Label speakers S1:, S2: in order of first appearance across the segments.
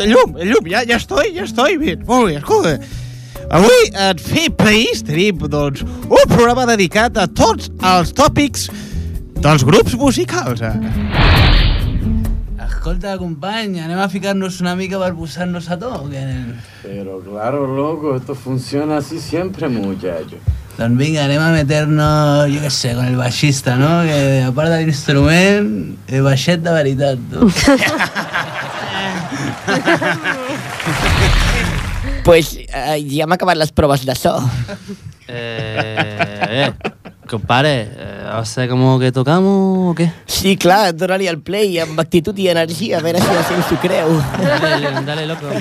S1: el llum, el llum, ja, ja estoy, ja estoy, bien. Molt bé, escolta. Avui, en Fer País, tenim, doncs, un programa dedicat a tots els tòpics dels grups musicals. Eh?
S2: Escolta, company, anem a ficar-nos una mica per posar-nos a eh, to. Que...
S3: Pero claro, loco, esto funciona así siempre, muchacho.
S2: Doncs vinga, anem a meter-nos, jo què sé, con el baixista, no? Que a part de l'instrument, el baixet de veritat, tu.
S4: Pues eh, ja hem acabat les proves de so.
S5: Eh, eh, compadre, eh, ¿va a ser como que tocamos o qué?
S4: Sí, clar, dóna-li el play amb actitud i energia, a veure si la gent s'ho creu.
S5: Dale, dale, loco.
S3: ¿Tú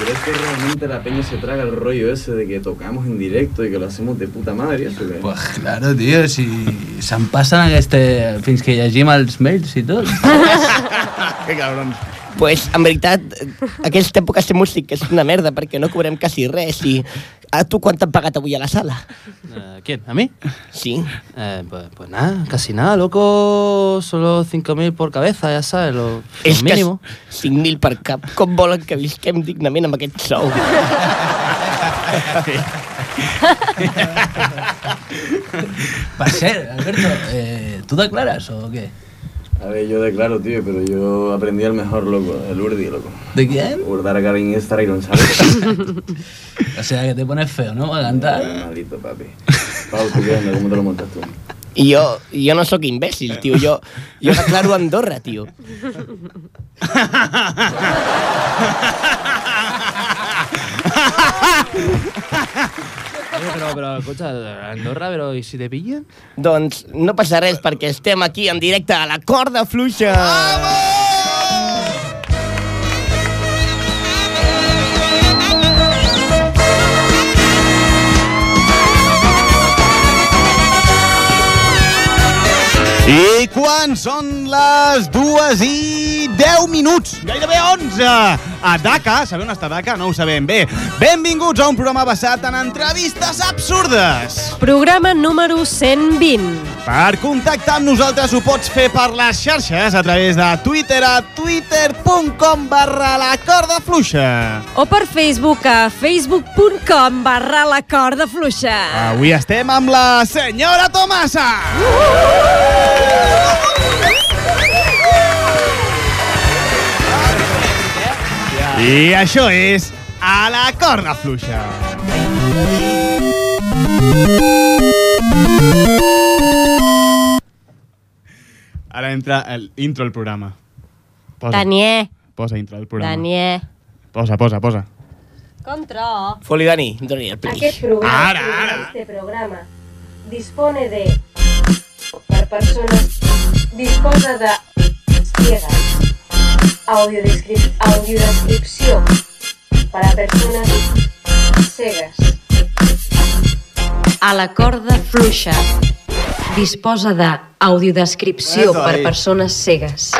S3: crees que realmente la peña se traga el rollo ese de que tocamos en directo y que lo hacemos de puta madre? Eso que...
S2: Pues claro, tio, si se'n passen aquesta... fins que llegim els mails i tot.
S1: Que cabrons.
S4: Pues, en veritat, eh, aquesta època ser músic és una merda perquè no cobrem quasi res i... A tu quant t'han pagat avui a la sala?
S5: Eh, ¿Quién? ¿A mí?
S4: Sí.
S5: Eh, pues, pues nada, casi nada, loco. Solo 5.000 por cabeza, ya sabes, lo, lo
S4: És que
S5: mínimo.
S4: 5.000 per cap. Com volen que visquem dignament amb aquest sou?
S2: Per cert, Alberto, eh, tu declares o què?
S3: A ver, yo declaro, tío, pero yo aprendí el mejor, loco, el Urdi, loco.
S2: De quién?
S3: Urdar a Karin Instagram, ¿sabes?
S2: O sea, que te pones feo, ¿no? A cantar.
S3: Maldito, papi. Pau, ¿tú qué onda? ¿Cómo te lo montas tú?
S4: I jo, jo no sóc imbècil, tio. Jo, jo declaro Andorra, tio.
S5: Oye, pero, pero, escucha, Andorra, pero ¿y si te pillan?
S4: Doncs no passa res perquè estem aquí en directe a la corda fluixa.
S1: I quan són les dues i 10 minuts, gairebé 11, a DACA, sabeu on està DACA? No ho sabem bé. Benvinguts a un programa basat en entrevistes absurdes.
S6: Programa número 120.
S1: Per contactar amb nosaltres ho pots fer per les xarxes a través de Twitter a twitter.com barra la corda fluixa.
S6: O per Facebook a facebook.com barra la corda fluixa.
S1: Avui estem amb la senyora Tomasa. I això és A la corda fluixa. Ara entra el intro al programa. Posa,
S6: Daniel,
S1: posa intro al programa.
S6: Daniel.
S1: Posa, posa, posa.
S7: Contra.
S4: Foli, Dani, doni el play.
S7: Aquest programa,
S1: Ara, ara.
S7: este programa dispone de per persones disposa de ciega audiodescrip audiodescripció para persones cegues
S8: A la corda fluixa. Disposa de audiodescripció
S1: Eso,
S8: per
S1: ahí.
S8: persones cegues.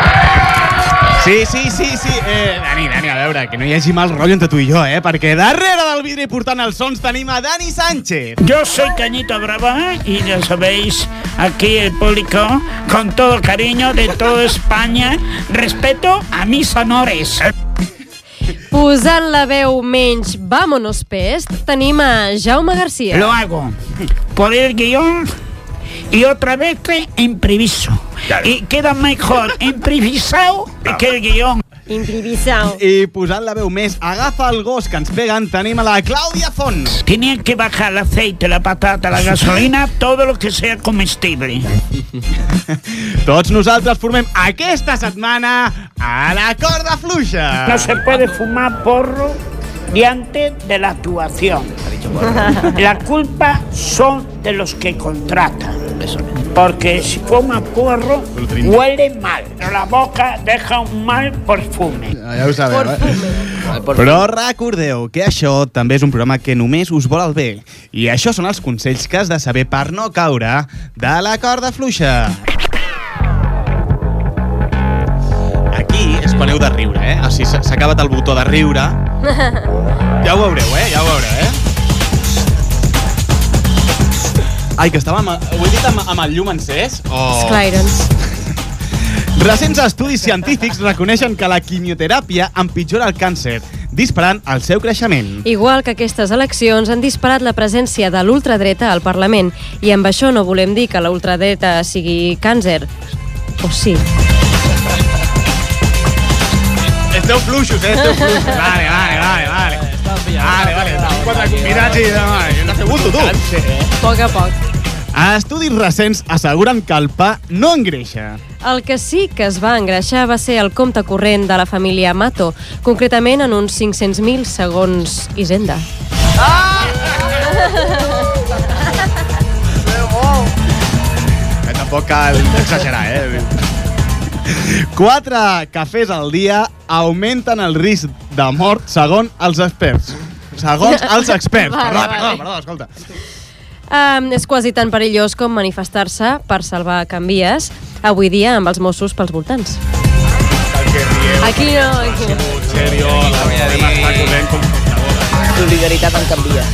S1: Sí, sí, sí, sí. Eh, Dani, Dani, a veure, que no hi hagi mal rotllo entre tu i jo, eh? Perquè darrere del vidre i portant els sons tenim a Dani Sánchez.
S9: Yo soy Cañito Brava y ya sabéis, aquí el público, con todo cariño de toda España, respeto a mis honores.
S6: Posant la veu menys Vámonos Pest, tenim a Jaume Garcia.
S9: Lo hago por el guión y otra vez que improviso. Y queda mejor improvisado que el guión.
S6: Improvisau.
S1: I posant la veu més, agafa el gos que ens peguen, tenim a la Clàudia Font.
S9: Tenían que bajar el aceite, la patata, la gasolina, todo lo que sea comestible.
S1: Tots nosaltres formem aquesta setmana a la corda fluixa.
S9: No se puede fumar porro diante de la actuación. La culpa son de los que contratan. Porque si fuma porro, huele mal. Pero la boca deja un mal perfume.
S1: Ja ho sabeu, eh? Però recordeu que això també és un programa que només us vol el bé. I això són els consells que has de saber per no caure de la corda fluixa. Aquí és quan heu de riure, eh? O sigui, s'ha s'ha acabat el botó de riure. Ja ho veureu, eh? Ja ho veureu, eh? Ai, que estava amb... Ho he dit amb, amb el llum encès? O...
S6: Esclairons.
S1: Recents estudis científics reconeixen que la quimioteràpia empitjora el càncer, disparant el seu creixement.
S6: Igual que aquestes eleccions han disparat la presència de l'ultradreta al Parlament i amb això no volem dir que la ultradreta sigui càncer. O sí.
S1: Esteu fluixos, eh? Esteu fluixos. Vale, vale, vale, vale.
S6: Eh,
S1: Vale, vale, tenim quatre convidats i demà. eh, Hem de fer bulto, tu.
S6: A poc a poc.
S1: Estudis recents asseguren que el pa no engreixa.
S6: El que sí que es va engreixar va ser el compte corrent de la família Mato, concretament en uns 500.000 segons Hisenda.
S1: Eh, tampoc cal exagerar, eh? Quatre cafès al dia augmenten el risc de mort segons els experts. Segons els experts.
S6: Vale,
S1: Perdó,
S6: vale.
S1: perdó, perdó, escolta.
S6: Um, és quasi tan perillós com manifestar-se per salvar canvies avui dia amb els Mossos pels voltants. Aquí no, aquí no.
S1: Serio,
S10: Solidaritat en canvia.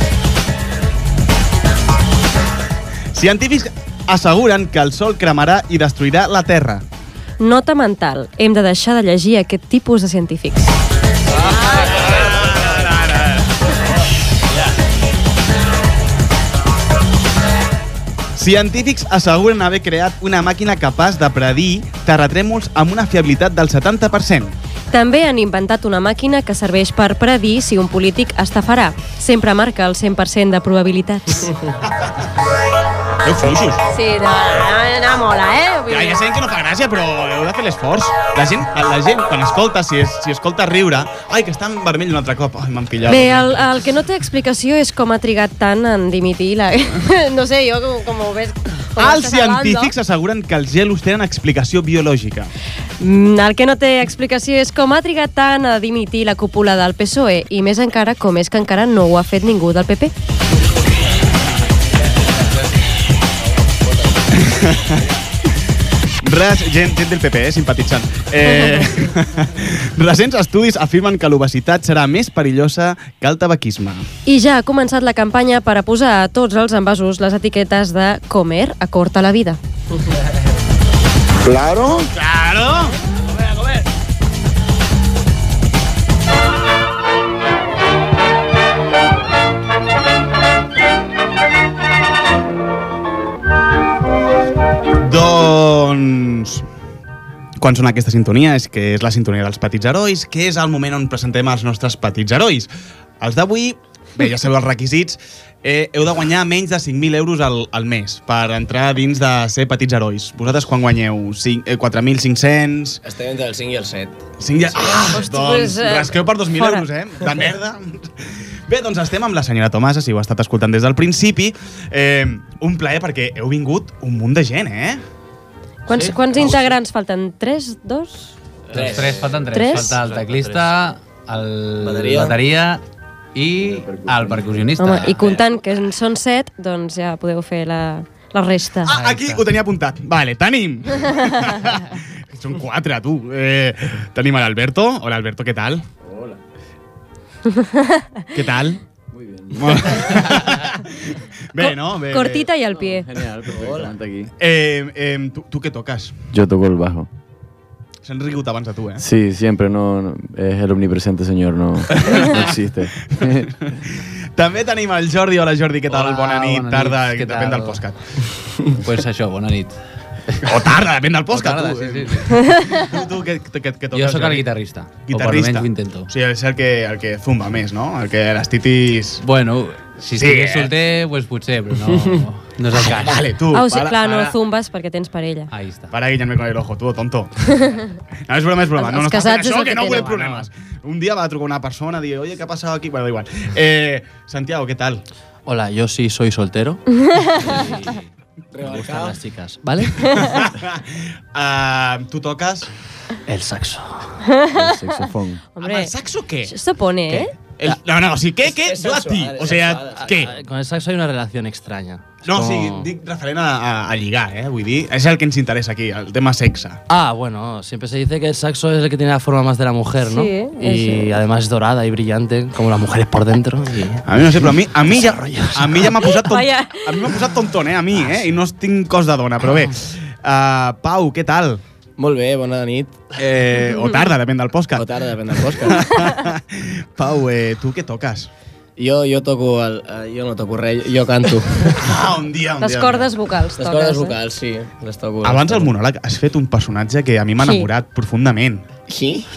S1: Científics asseguren que el sol cremarà i destruirà la Terra.
S6: Nota mental. Hem de deixar de llegir aquest tipus de científics.
S1: Científics asseguren haver creat una màquina capaç de predir terratrèmols amb una fiabilitat del 70%.
S6: També han inventat una màquina que serveix per predir si un polític estafarà. Sempre marca el 100% de probabilitats.
S1: Déu fluixos.
S6: Sí, no, no, no mola, eh?
S1: Ja, ja sabem que no fa gràcia, però heu de fer l'esforç. La gent, la gent, quan escolta, si, es, si escolta riure, ai, que està en vermell un altre cop. Ai, m'han pillat.
S6: Bé, el, el que no té explicació és com ha trigat tant en dimitir la... no sé, jo com, com ho ves... com
S1: Els
S6: estàs hablando.
S1: científics asseguren que els gelos tenen explicació biològica.
S6: Mm, El que no té explicació és com ha trigat tant a dimitir la cúpula del PSOE E i més encara com és que encara no ho ha fet ningú del PP.
S1: Res, gent, gent del PP, eh, simpatitzant. Eh, recents estudis afirmen que l'obesitat serà més perillosa que el tabaquisme.
S6: I ja ha començat la campanya per a posar a tots els envasos les etiquetes de er comer acorta la vida.
S11: Claro.
S1: Claro! Doncs... Quan sona aquesta sintonia és que és la sintonia dels petits herois, que és el moment on presentem els nostres petits herois. Els d'avui, bé, ja sabeu els requisits, eh, heu de guanyar menys de 5.000 euros al, al mes per entrar dins de ser petits herois. Vosaltres quan guanyeu? Cinc- eh, 4.500...
S11: Estem entre el 5 i el 7.
S1: 5 ja... Ah,
S6: Hosti,
S1: doncs,
S6: pues, eh,
S1: rasqueu per 2.000
S6: fora.
S1: euros, eh? De merda. Bé, doncs estem amb la senyora Tomasa, si ho ha estat escoltant des del principi. Eh, un plaer perquè heu vingut un munt de gent, eh?
S6: Quants, sí? quants integrants falten? 3, 2?
S12: Tres. tres, falten tres.
S6: Tres?
S12: Falta el teclista, el
S11: Bateria.
S12: bateria i el percussionista.
S6: Home, i comptant que en són 7, doncs ja podeu fer la, la resta.
S1: Ah, aquí ho tenia apuntat. Vale, tenim. Són quatre, tu. Eh, tenim a l'Alberto. Hola, Alberto, què tal?
S11: Hola.
S1: Què tal?
S11: Muy bien.
S1: Molt- Bé, no? Bé, bé.
S6: Cortita i al pie.
S11: Genial, perfectamente aquí.
S1: Eh, eh, tu, tu què toques?
S3: Yo toco el bajo.
S1: S'han rigut abans de tu, eh?
S3: Sí, siempre no, no- es el omnipresente señor, no, no existe.
S1: També tenim el Jordi. Hola, Jordi, què tal?
S12: Hola,
S1: bona nit,
S12: bona nit,
S1: tarda,
S12: què
S1: depèn
S12: tal?
S1: del podcast.
S12: pues això, bona nit.
S1: O tarda, depèn del podcast,
S12: Bona tarda,
S1: tu. eh.
S12: sí, sí, sí.
S1: Tu, tu què, què, què, què toques?
S12: Jo sóc el
S1: Jordi?
S12: guitarrista. O per
S1: Guitarrista.
S12: almenys ho intento.
S1: O sigui, és el que, el que zumba més, no? El que les titis...
S12: Bueno, si
S1: Sí.
S12: estigués solter, pues potser, però no, no és el cas.
S1: Vale, tu,
S6: Ah, o sigui,
S1: para-
S6: clar, no
S1: para- Ah,
S6: zumbes perquè tens parella.
S12: Ahí está.
S1: Para guiñarme con el ojo, tú, oh, tonto. No, és broma, és broma.
S6: Els-
S1: No, no
S6: els
S1: està fent
S6: casats és
S1: això,
S6: el
S1: que
S6: que
S1: no
S6: tenen.
S1: vull problemes. Un dia va trucar una persona, dir, oye, què ha passat aquí? Bueno, da igual. Eh, Santiago, què tal?
S5: Hola, yo sí soy soltero. Y me gustan las chicas, ¿vale?
S1: Uh, tu toques...
S5: El saxo.
S3: El saxofón.
S1: Amb
S6: Hombre,
S1: el saxo ah, què?
S6: se pone, eh?
S1: El, no, no, o sigui, què, què?
S11: és
S1: Jo a ti.
S11: sensual,
S1: O
S11: és
S1: sigui,
S11: sensual.
S1: què?
S5: Ah, Con el saxo hay una relación extraña. Es
S1: No, o
S5: como-
S1: sigui, dic referent a, a, a lligar, eh? Vull dir, és el que ens interessa aquí, el tema sexe.
S5: Ah, bueno, siempre se dice que el saxo es el que tiene la forma más de la mujer, ¿no?
S6: Sí, ¿eh?
S5: Y
S6: Eso.
S5: además es dorada y brillante, como las mujeres por dentro. y-
S1: A mi no sé, però a mi, a mi, ja, a mi ja m'ha posat, ton,
S6: Vaya.
S10: Ah,
S1: a mi m'ha posat tonton, eh? A mi, eh? I no tinc cos de dona, però bé. Uh, Ah, Pau, què tal?
S10: Molt bé, bona nit.
S1: Eh, o tarda, depèn del podcast.
S10: O tarda, depèn del podcast.
S1: Pau, eh, tu què toques?
S10: Jo, jo toco el, eh, jo no toco res, jo canto.
S1: ah, un dia,
S6: Les cordes vocals
S10: Les
S6: toques,
S10: cordes
S6: eh?
S10: vocals, sí, les toco.
S1: Abans del monòleg has fet un personatge que a mi m'ha
S6: Sí.
S1: enamorat profundament.
S10: Sí?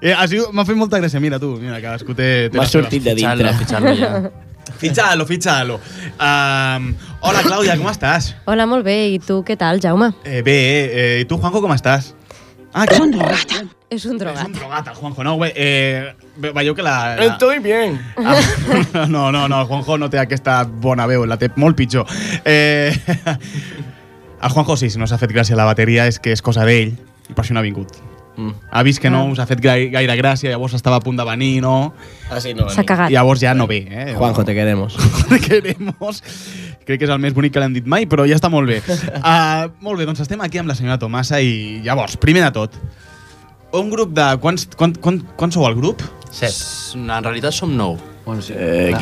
S1: Eh, ha sigut- M'ha fet molta gràcia, mira tu, mira, cadascú té... té
S10: M'ha
S1: les seves.
S10: sortit de dintre. Fitxar-lo, fitxar-lo
S1: Fitxar-lo, fitxar-lo. Um, hola, Clàudia, com estàs?
S6: Hola, molt bé. I tu què tal, Jaume?
S1: Eh, bé, eh, i tu, Juanjo, com estàs? Ah, que...
S6: És un drogat.
S1: És un drogat, el Juanjo. No, güey, eh, ve- veieu que la... la...
S10: Estoy bien.
S1: No, no, no, el Juanjo no té aquesta bona veu, la té molt pitjor. Eh, el Juanjo, sí, si no s'ha fet gràcia la bateria és que és cosa d'ell i per això no ha vingut. Mm. Ha vist que no us ha fet gai- gaire gràcia, llavors estava a punt de venir, no?
S10: Ah, sí, no.
S6: S'ha cagat.
S1: Llavors ja no ve, eh?
S10: Juanjo, te queremos.
S1: Te queremos. Crec que és el més bonic que l'hem dit mai, però ja està molt bé. Uh, molt bé, doncs estem aquí amb la senyora Tomasa i llavors, primer de tot, un grup de... Quants, quant, quant, quant sou el grup?
S5: Set. En realitat som nou.
S10: Bueno, sí.
S5: Eh,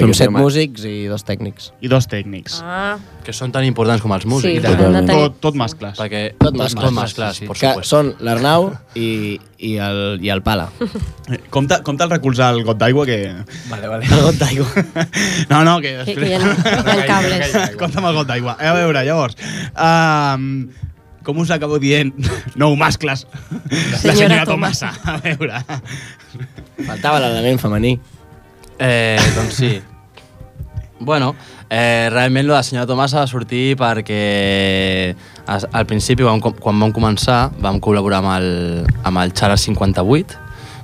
S10: Som set músics i dos tècnics.
S1: I dos tècnics.
S6: Ah.
S5: Que són tan importants com els músics.
S10: Sí, Totalment. han de tenir-
S1: tot mascles.
S5: Perquè
S10: Tot mascles.
S5: Tot mascles, sí, sí. por
S10: que
S5: supuesto.
S10: són l'Arnau i, i, el, i el Pala.
S1: Compte, compte el recolzar el got d'aigua que...
S10: Vale, vale. El got d'aigua.
S1: No, no, que...
S6: Que- que hi ha- hi ha cables.
S1: Compte amb el got d'aigua. A veure, llavors... Um, com us acabo dient? Nou mascles. la senyora
S10: Senyora
S1: Tomasa.
S10: Tomasa.
S1: A veure...
S10: Faltava l'element femení.
S5: Eh, doncs sí. Bueno, eh, realment la senyora Tomasa va sortir perquè as- al principi vam, com- quan vam començar vam col·laborar amb el, amb el Xara 58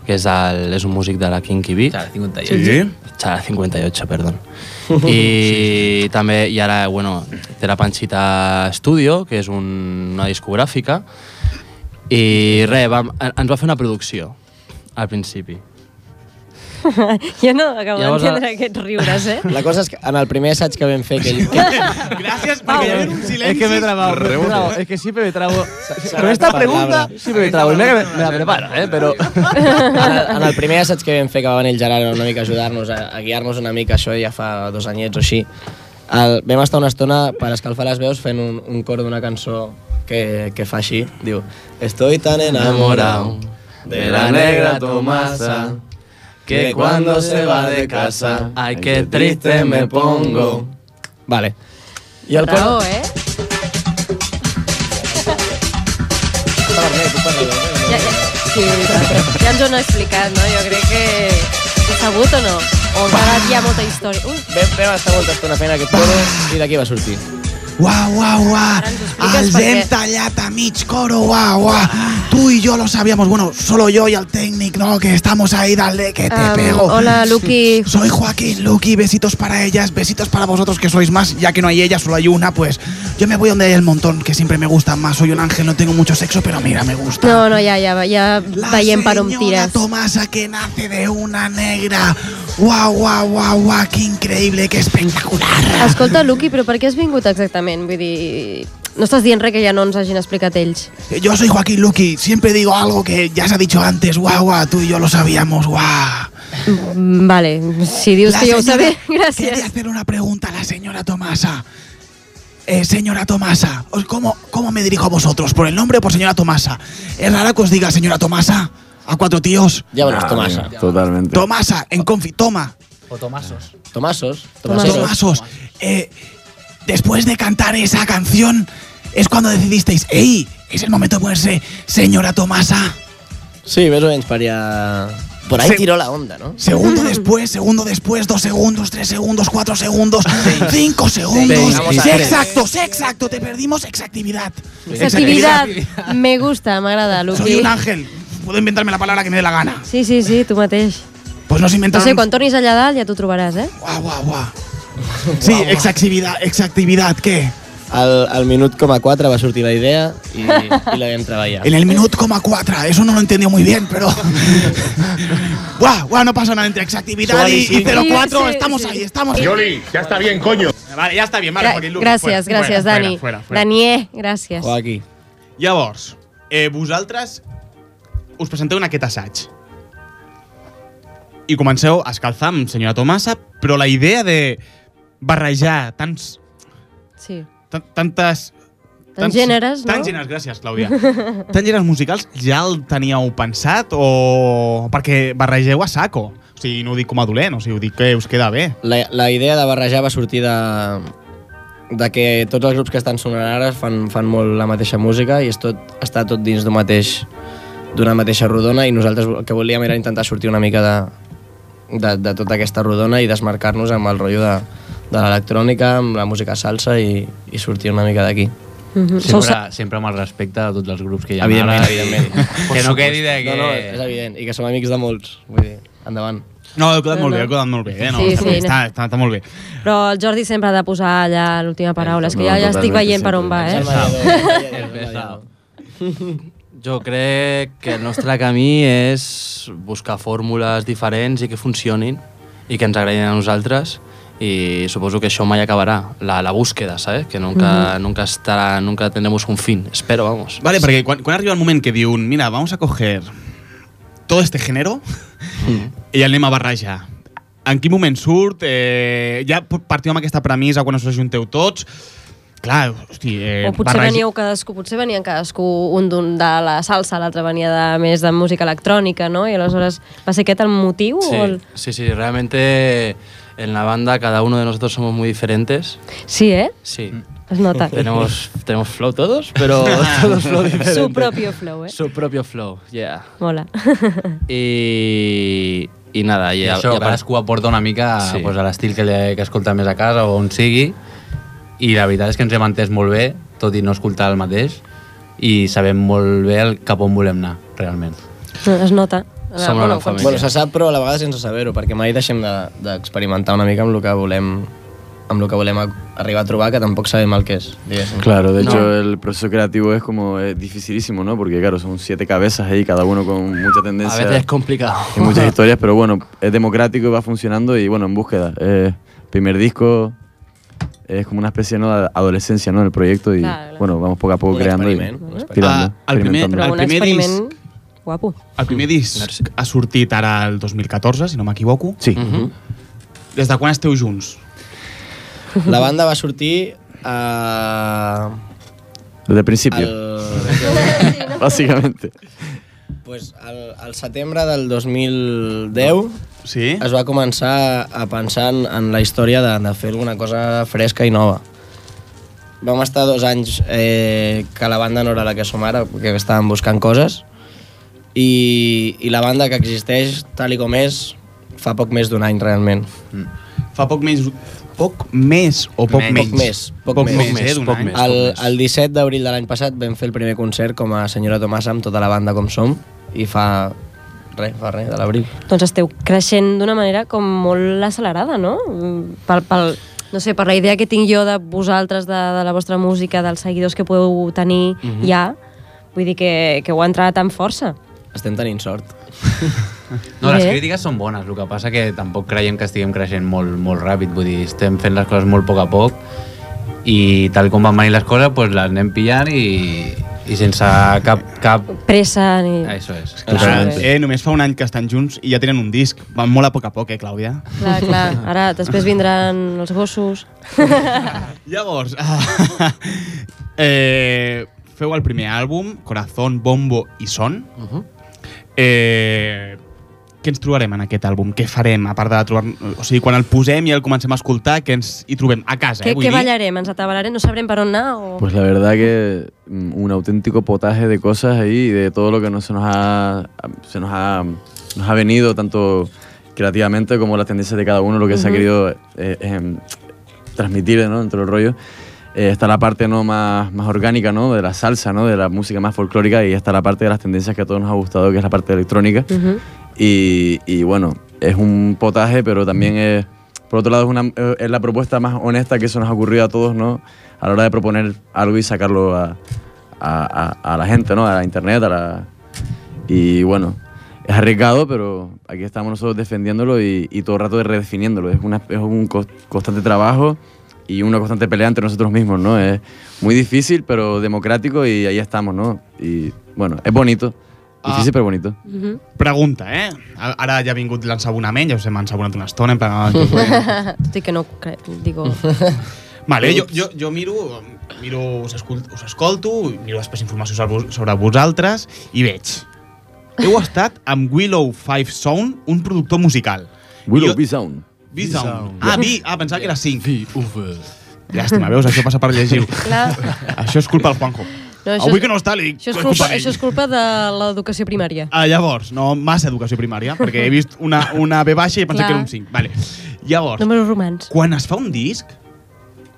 S5: que és, el, és un músic de la Kinky Beat. Xara
S12: 58. Sí.
S5: Xara 58, perdó. I també, i ara, bueno, té la Panchita Studio, que és un, una discogràfica, i res, vam, en- ens va fer una producció al principi.
S6: jo no acabo
S5: Llavors,
S6: d'entendre aquests riures, eh?
S10: La cosa és que en el primer assaig que vam fer... Que, que
S1: Gràcies, perquè hi ha un silenci.
S12: Es que me he trabado, me he
S10: Rebote.
S12: trabado. Es que siempre me trabo.
S10: serà
S12: Con esta
S10: otra
S12: pregunta
S10: palabra.
S12: siempre me trabo. Y mira que me, me la preparo, ¿eh? Pero.
S10: en, el, en el primer assaig que vam fer que va venir el Gerard una mica a ajudar-nos, a, a guiar-nos una mica, això ja fa dos anyets o així, el, vam estar una estona per escalfar les veus fent un, un cor d'una cançó que, que fa així, diu Estoy tan enamorado de la negra Tomasa que cuando se va de casa
S5: Ay, qué
S10: triste me pongo. Vale. I el
S6: Bravo,
S10: cor...
S6: eh? Ja, ja, sí, ja ens ho han explicat, no? Jo crec que... He sabut o no? O encara hi ha molta història. Ui,
S10: Vam, vam estar molta estona fent aquest coro i d'aquí va sortir.
S1: Uau, uau, uau.
S6: expliques per què.
S1: tallat a mig coro, uau, uau. Tú y yo lo sabíamos, bueno, solo yo y el técnico, ¿no? Que estamos ahí, dale, que te
S6: Um, hola, Luqui.
S1: Soy Joaquín, Luqui, besitos para ellas, besitos para vosotros que sois más, ya que no hay ella, solo hay una, pues yo me voy donde hay el montón, que siempre me gustan más. Soy un ángel, no tengo mucho sexo, pero mira, me gusta.
S6: No, no, ja, ja, ja veiem per on tires.
S1: Tomasa que nace de una negra. Guau, guau, guau, guau, qué increíble, qué espectacular.
S6: Escolta, Luqui, però per què has vingut exactament? Vull dir... No estàs dient res que ja no ens hagin explicat ells.
S1: Yo soy Joaquín Luqui, siempre digo algo que ya se ha dicho antes, guau, guau, tú y yo lo sabíamos, guau.
S6: Mm, Vale, si dius que jo ho sabé,
S1: Quería
S6: gràcies.
S1: hacer una pregunta a la señora Tomasa. Eh, señora Tomasa, os- ¿cómo, ¿cómo me dirijo a vosotros? ¿Por el nombre o por señora Tomasa? ¿Es raro que os diga señora Tomasa? A cuatro tíos.
S10: Llámanos
S3: Ah,
S10: Tomasa.
S3: venga, Totalmente.
S1: Tomasa, en confi, toma.
S12: O Tomasos.
S10: Tomasos.
S6: Tomasos.
S1: Tomasos, eh, después de cantar esa canción, es cuando decidisteis, ¡Ey! Es el momento de ponerse señora Tomasa.
S10: Sí, més o menys per allà... Por ahí
S1: Sí.
S10: tiró la onda, ¿no?
S1: Segundo después, segundo después, dos segundos, tres segundos, cuatro segundos, cinco segundos.
S10: Vamos a
S1: Sí,
S10: tres.
S1: exacto, sí, exacto, te perdimos exactividad.
S6: Activitat. Me gusta, m'agrada,
S1: Soy
S6: Luqui.
S1: un ángel. Puedo inventarme la palabra que me dé la gana.
S6: Sí, sí, sí, tu mateix.
S1: Pues nos
S6: No
S1: inventaron.
S6: sé, quan tornis allà dalt ja t'ho trobaràs, eh?
S1: Guau, guau, guau. Sí, exactividad, exactividad, ¿qué?
S10: Al, al minut coma 4 va sortir la idea i, i la vam treballar.
S1: En el minuto coma cuatro. Eso no lo entendió muy bien, pero. guau, guau, no pasa nada entre exactividad y, y 04.
S6: Sí, sí,
S1: estamos
S6: sí.
S1: ahí, estamos ahí.
S2: Yoli, ya está bien, coño.
S1: Vale, ya está bien,
S6: Gra- gràcies, gràcies, Dani. Daniel, gràcies.
S10: Joaquí.
S1: Llavors, eh, vosaltres us presenteu en aquest assaig. I comenceu a escalfar amb senyora Tomasa, però la idea de barrejar tants,
S6: Sí.
S1: tan- tantes
S6: Tants gèneres, no?
S1: Tants gèneres, gràcies, Clàudia. Tants gèneres musicals ja el teníeu pensat o... Perquè barregeu a saco. O sigui, no ho dic com a dolent, o sigui, ho dic que us queda bé.
S10: La, la idea de barrejar va sortir de, de que tots els grups que estan sonant ara fan, fan molt la mateixa música i és tot, està tot dins d'un mateix d'una mateixa rodona i nosaltres el que volíem era intentar sortir una mica de, de, de tota aquesta rodona i desmarcar-nos amb el rotllo de, de l'electrònica, amb la música salsa i, i sortir una mica d'aquí.
S6: Mhm. Sou
S2: Sempre,
S6: sa-
S2: sempre amb el respecte a tots els grups que hi ha
S10: Evidentment,
S2: ara. i-
S10: evidentment.
S2: Que no
S10: Per
S2: quedi de
S10: supuesto.
S2: que...
S10: No, no, és evident. I que som amics de molts. Vull dir, endavant.
S1: No, heu quedat molt bé, heu quedat molt bé. Eh? No,
S6: Sí,
S1: està,
S6: sí.
S1: bé, Està, està, està molt bé.
S6: Però el Jordi sempre ha de posar allà l'última paraula. És que ja, ja estic
S1: totalment,
S6: veient per on va, eh?
S5: Jo crec que el nostre camí és buscar fórmules diferents i que funcionin i que ens agradin a nosaltres i suposo que això mai acabará, la, la búsqueda, ¿sabes? Que nunca,
S1: Ujú.
S5: nunca estará, nunca tendremos un fin, espero, vamos.
S1: Vale, perquè quan, quan arriba el moment que diuen mira, vamos a coger todo este género i el anem a barrejar. En quin moment surt? Eh, ja partiu amb aquesta premissa quan us ajunteu tots. Clar, hosti, eh,
S6: O potser veníeu cadascú, potser venien cadascú un d'un de la salsa, l'altre venia de, més de música electrònica, no? I aleshores va ser aquest el motiu?
S5: Sí,
S6: O el...
S5: sí, sí, realmente en la banda cada uno de nosotros somos muy diferentes.
S6: sí eh?
S5: Sí.
S6: Es nota.
S5: Tenemos, tenemos flow todos, pero todos flow diferente.
S6: Su propio flow, eh?
S5: Su propio flow, yeah.
S6: Mola.
S5: I, i nada, i,
S2: I això,
S5: i a part-
S2: cadascú aporta una mica
S5: Sí.
S2: sí. pues, a l'estil que, li- que escolta més a casa o on sigui i la veritat és que ens hem entès molt bé, tot i no escoltar el mateix i sabem molt bé el cap on volem anar, realment.
S6: Es nota.
S2: Som una gran família.
S10: Bueno, se sap, però a la vegada sense saber-ho, perquè mai deixem de- d'experimentar de, una mica amb el que volem amb el que volem a- arribar a trobar, que tampoc sabem el que és, diguéssim.
S3: Claro, de hecho
S10: No.
S3: el proceso creativo es como eh, dificilísimo, ¿no? Porque claro, son siete cabezas ahí, cada uno con mucha tendencia.
S5: a veces es complicado.
S3: y muchas historias, pero bueno, es democrático y va funcionando y bueno, en búsqueda. Eh, primer disco es como una especie ¿no? de adolescencia, ¿no? El proyecto y bueno, vamos poco a poco
S1: Un
S3: creando y
S1: experiment, un
S3: tirando,
S1: Ah, el primer-
S3: experimentando.
S6: Eh, Però un
S1: primer
S6: experiment guapo.
S1: El primer disc ha sortit ara el 2014, si no m'equivoco.
S3: Sí.
S1: Mm -hmm. Des de quan esteu junts?
S10: La banda va sortir eh, a...
S3: Desde el principio, básicamente.
S10: Pues al, al setembre del 2010
S1: sí?
S10: es va començar a pensar en, en la història de, de fer alguna cosa fresca i nova. Vam estar dos anys eh, que la banda no era la que som ara, que estàvem buscant coses, i, i la banda que existeix tal i com és fa poc més d'un any realment.
S1: Fa poc més... Poc més o poc menys?
S10: Poc més.
S1: Poc, poc més, eh? D'un any.
S10: El, el 17 d'abril de l'any passat vam fer el primer concert com a senyora Tomasa amb tota la banda com som i fa res, fa res de l'abril.
S6: Doncs esteu creixent d'una manera com molt accelerada, no? Mm, Pel, pel, no sé, per la idea que tinc jo de vosaltres, de, de la vostra música, dels seguidors que podeu tenir
S10: Mhm.
S6: ja, vull dir que, que ho ha entrat amb força.
S10: Estem tenint sort.
S2: No, les
S6: Bé.
S2: crítiques són bones, el que passa que tampoc creiem que estiguem creixent molt, molt ràpid, vull dir, estem fent les coses molt a poc a poc i tal com van venir les coses, doncs les anem pillant i, i sense cap... cap...
S6: Pressa ni...
S2: Això és.
S1: Clar, eh, només fa un any que estan junts i ja tenen un disc. Van molt a poc a poc, eh, Clàudia?
S6: Clar, clar, ara després vindran els gossos.
S1: Llavors, ah, eh, feu el primer àlbum, Corazón, Bombo i Son. Uh -huh. eh, què ens trobarem en aquest àlbum? Què farem, a part de trobar... O sigui, quan el posem i el comencem a escoltar, què ens hi trobem? A casa,
S6: Què,
S1: eh? Vull
S6: què
S1: dir.
S6: ballarem? Ens atabalarem? No sabrem per on anar? O...
S3: Pues la verdad que mm, un auténtico potaje de cosas ahí, de todo lo que no se nos ha, se nos ha, nos ha venido, tanto creativamente como las tendencias de cada uno, lo que se ha
S13: Ujú.
S3: querido eh, em, transmitir ¿no? dentro del rollo. Eh, está la parte ¿no? más, más orgánica ¿no? de la salsa, ¿no? de la música más folclórica y está la parte de las tendencias que a todos nos ha gustado, que es la parte electrónica. Y, y bueno, es un potaje, pero también es, por otro lado, es, una, eh, es la propuesta más honesta que se nos ha ocurrido a todos, ¿no? A la hora de proponer algo y sacarlo a, a- a- a la gente, ¿no? A la internet, a la... Y bueno, es arriesgado, pero aquí estamos nosotros defendiéndolo y, y todo el rato redefiniéndolo. Es, una, es un cos- constante trabajo y una constante pelea entre nosotros mismos, ¿no? Es muy difícil, pero democrático y ahí estamos, ¿no? Y bueno, es bonito. Difícil, pero bonito.
S1: Pregunta, eh? A- Ara ja ha vingut l'ensabonament, ja us hem ensabonat una estona, en plan... ah, que ho podem-
S6: Tot i que no ho crec, digo...
S1: Vale, jo, jo, jo miro, miro us, escolto, us escolto, miro després informació sobre, vos- sobre vosaltres i veig. Heu estat amb Willow Five Sound, un productor musical.
S3: Willow
S1: Jo-
S3: B Sound.
S1: B-Sound. Ah, B. Ah, pensava que era 5. B-V. Llàstima, veus? Això passa per llegir
S6: Clar.
S1: Això és culpa del Juanjo.
S6: No, això
S1: Avui
S6: és-
S1: que no està, li dic,
S6: Això és
S1: "Però
S6: culpa,
S1: d'ell".
S6: això és culpa de l'educació primària.
S1: Ah, llavors, no massa educació primària, perquè he vist una, una B baixa i he pensat
S6: Clar.
S1: que era un 5. Vale. Llavors,
S6: Números romans.
S1: quan es fa un disc,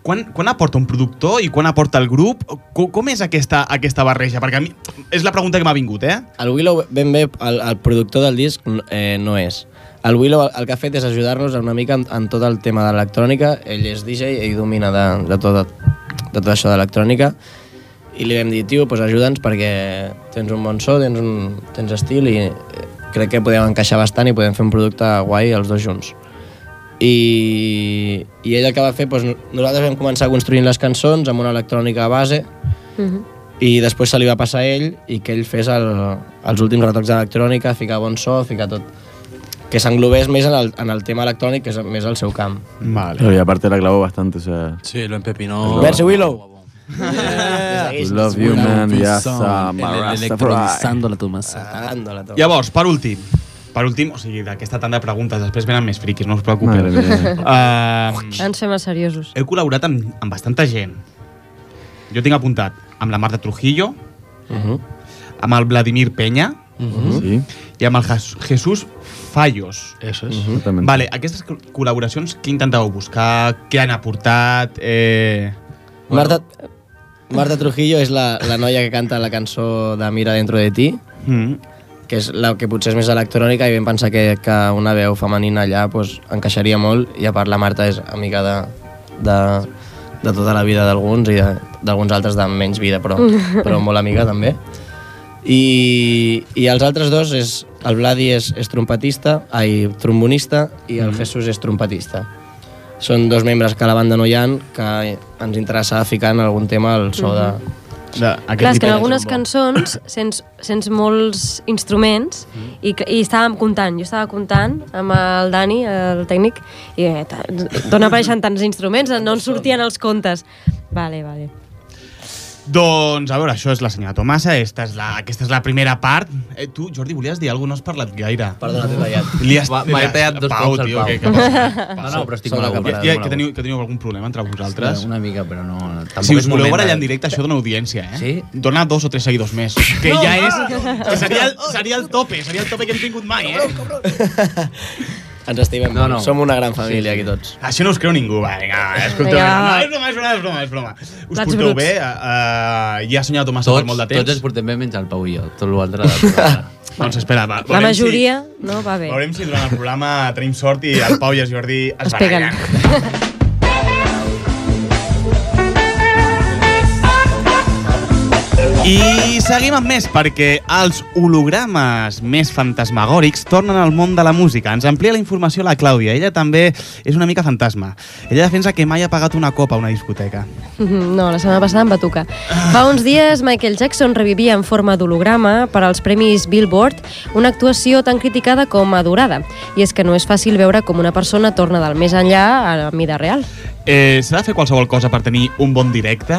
S1: quan, quan aporta un productor i quan aporta el grup, com, com és aquesta, aquesta barreja? Perquè a mi és la pregunta que m'ha vingut, eh?
S10: El Willow, ben bé, el, el productor del disc n- eh, no és. El Willow el, el que ha fet és ajudar-nos una mica en, en tot el tema de l'electrònica. Ell és DJ, ell domina de, de, tot, de tot això de l'electrònica. I li vam dir, tio, pues ajuda'ns perquè tens un bon so, tens, un, tens estil i eh, crec que podem encaixar bastant i podem fer un producte guai els dos junts. I, i ell el que va fer, doncs, nosaltres vam començar construint les cançons amb una electrònica base i després se li va passar a ell i que ell fes el, els últims retocs d'electrònica, ficar bon so, ficar tot que s'englobés més en el, en el tema electrònic, que és més el seu camp.
S1: Vale.
S3: Pero y aparte la clavó bastante, o sea.
S5: Sí, lo
S3: No.
S5: empepinó.
S10: Merci, Willow!
S3: We love you, man. Yes, I'm a Rastafari.
S13: la tu massa.
S10: Atacándola tot.
S1: Llavors, per últim, per últim, o sigui, d'aquesta tanda de preguntes, després venen més friquis, no us preocupeu.
S3: Mare
S1: Uh,
S6: Ens fem els seriosos.
S1: heu col·laborat amb, amb bastanta gent. Jo tinc apuntat amb la Marta Trujillo, uh -huh. amb el Vladimir Peña
S3: Mhm. Sí.
S1: i amb el Jas- Jesús Fallos.
S13: Eso
S3: es. Mhm. Exactament.
S1: Vale, aquestes col- col·laboracions, què intentàveu buscar? Què han aportat? Eh...
S10: Marta, Marta Trujillo és la, la noia que canta la cançó de Mira dentro de ti,
S1: Mm.
S10: que és la que potser és més electrònica i vam pensar que, que una veu femenina allà pues, encaixaria molt i a part la Marta és amiga de, de, de tota la vida d'alguns i de- d'alguns altres de menys vida però, però molt amiga també i, i els altres dos és, el Vladi és, és trompetista ai, trombonista i el
S1: Mhm.
S10: Jesús és trompetista són dos membres que a la banda no hi ha que ens interessava ficar en algun tema el so de...
S1: de
S6: Clar, és que en algunes cançons sents, sents molts instruments i, que- i estàvem comptant, jo estava comptant amb el Dani, el tècnic, i eh, ta- d'on apareixen tants instruments, no en sortien els comptes. Vale, vale.
S1: Doncs, a veure, això és la senyora Tomasa, esta és la, aquesta és la primera part. Eh, tu, Jordi, volies dir alguna cosa? No has parlat gaire.
S10: Perdona, t'he tallat.
S1: Li has,
S10: Va- m'he tallat dos
S1: Pau,
S10: cops al
S1: tio,
S10: Pau.
S1: què- què passa?
S2: No, no, però estic
S1: Sou
S2: molt a
S1: que-
S2: gust,
S1: que,
S2: molt a
S1: que, teniu, que teniu algun problema entre vosaltres?
S2: Sí, una mica, però no... Tampoc
S1: si
S2: és
S1: us voleu
S2: moment de-
S5: eh?
S1: barallar en directe, això dona audiència, eh? Sí? Dona dos o tres seguidors més. Que
S2: No,
S1: ja
S2: no,
S1: és...
S2: no.
S1: Que seria, el, seria el tope, seria el tope que hem tingut mai, eh?
S10: Ens estimem
S1: No,
S10: no,
S1: no.
S10: no. som una gran família aquí tots
S1: Això no us creu ningú, va, vinga, escolteu.
S10: Vinga.
S1: No, és broma, és broma, és broma, és broma. Us
S10: Plats
S1: porteu
S10: bruts.
S1: bé? Uh, ja ha senyora Tomasa per
S2: Tots,
S1: molt de temps?
S2: tots ens portem bé menys el Pau i jo, tot l'altre de la
S1: Doncs espera, va,
S6: La
S1: veurem si-
S6: majoria no va bé.
S1: Veurem si durant el programa tenim sort i el Pau i el Jordi es,
S6: Es peguen.
S1: I seguim amb més, perquè els hologrames més fantasmagòrics tornen al món de la música. Ens amplia la informació la Clàudia. Ella també és una mica fantasma. Ella defensa que mai ha pagat una copa a una discoteca.
S6: Mhm, No, la setmana passada em va tocar. Fa uns dies, Michael Jackson revivia en forma d'holograma per als Premis Billboard una actuació tan criticada com adorada. I és que no és fàcil veure com una persona torna del més enllà a la mida real.
S1: Eh, S'ha de fer qualsevol cosa per tenir un bon directe?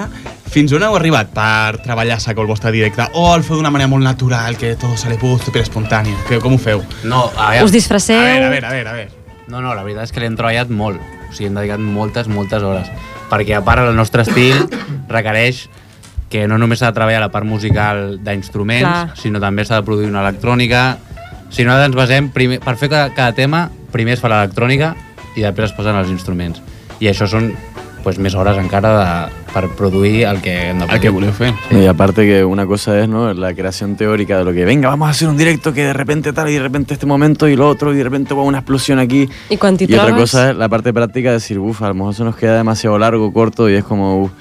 S1: Fins on heu arribat per treballar saco el vostre directe? O el feu d'una manera molt natural, que tot se li puc, super espontani? Que, com ho feu?
S2: No, a veure...
S6: Us disfresseu?
S2: Eh, A veure, a
S1: veure, a veure, a veure.
S2: No, no, la veritat és que l'hem treballat molt. O sigui, hem dedicat moltes, moltes hores. Perquè, a part, el nostre estil requereix que no només s'ha de treballar la part musical
S6: Clar.
S2: d'instruments, sinó també s'ha de produir una electrònica. Si no, ens basem... Primer, per fer cada, cada tema, primer es fa l'electrònica i després es posen els instruments. I això són pues, més hores encara de, per produir el que hem de produir. El que
S1: voleu fer.
S3: Y aparte que una cosa es, ¿no? La creación teórica de lo que venga, vamos a hacer un directo que de repente tal y de repente este momento y lo otro y de repente wow, una explosión aquí.
S6: I quan t'hi
S3: Y otra
S6: trobes...
S3: cosa es la parte práctica de decir, uff, a lo mejor se nos queda demasiado largo, corto y es como uf,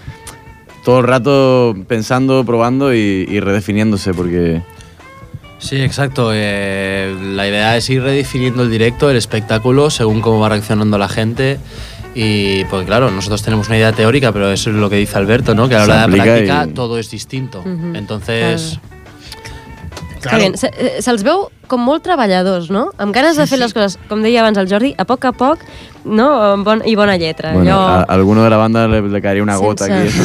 S3: todo el rato pensando, probando y, y redefiniéndose porque...
S5: Sí, exacto. eh, la idea es ir redefiniendo el directo, el espectáculo, según cómo va reaccionando la gente. Y porque claro, nosotros tenemos una idea teórica, pero eso es lo que dice Alberto, ¿no? Que a la
S3: Se
S5: hora de la
S3: aplica
S5: práctica
S3: y-
S5: todo es distinto.
S3: Ujú,
S5: Entonces,
S6: Claro. Bien. Mhm. Se- eh, Se'ls veu com molt treballadors, no? Amb ganes de fer les coses, com deia abans el Jordi, a poc a poc, no? Amb Bon, I bona lletra.
S3: Bueno, a,
S6: Allò...
S3: a alguno de la banda le, le caería una gota
S6: Sense-
S3: aquí. eso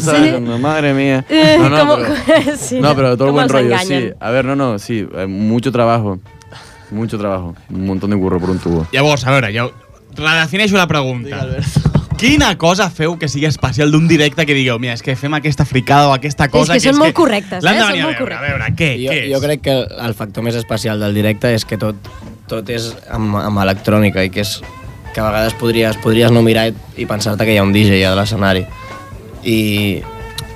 S6: Sí.
S3: "Cuando, Madre mía.
S6: Eh,
S3: No, no,
S6: com-
S3: pero-
S6: sí,
S3: No, pero todo el
S6: com
S3: buen
S6: els
S3: rollo, sí.
S6: enganyen.
S3: A ver, no, no, sí, eh, mucho trabajo. Mucho trabajo. Un montón de curro por un tubo.
S1: Llavors, a veure, ja redefineixo la pregunta. Quina cosa feu que sigui especial d'un directe que digueu, mira, és que fem aquesta fricada o aquesta cosa...
S6: és que són molt
S1: que
S6: correctes, eh?
S1: L'han de
S6: Són
S1: venir a
S6: molt
S1: veure, a veure, què,
S10: jo,
S1: què és?
S10: jo crec que el el factor més especial del directe és que tot, tot és amb, amb electrònica i que és que a vegades podries, podries no mirar i, i pensar-te que hi ha un DJ a l'escenari. I...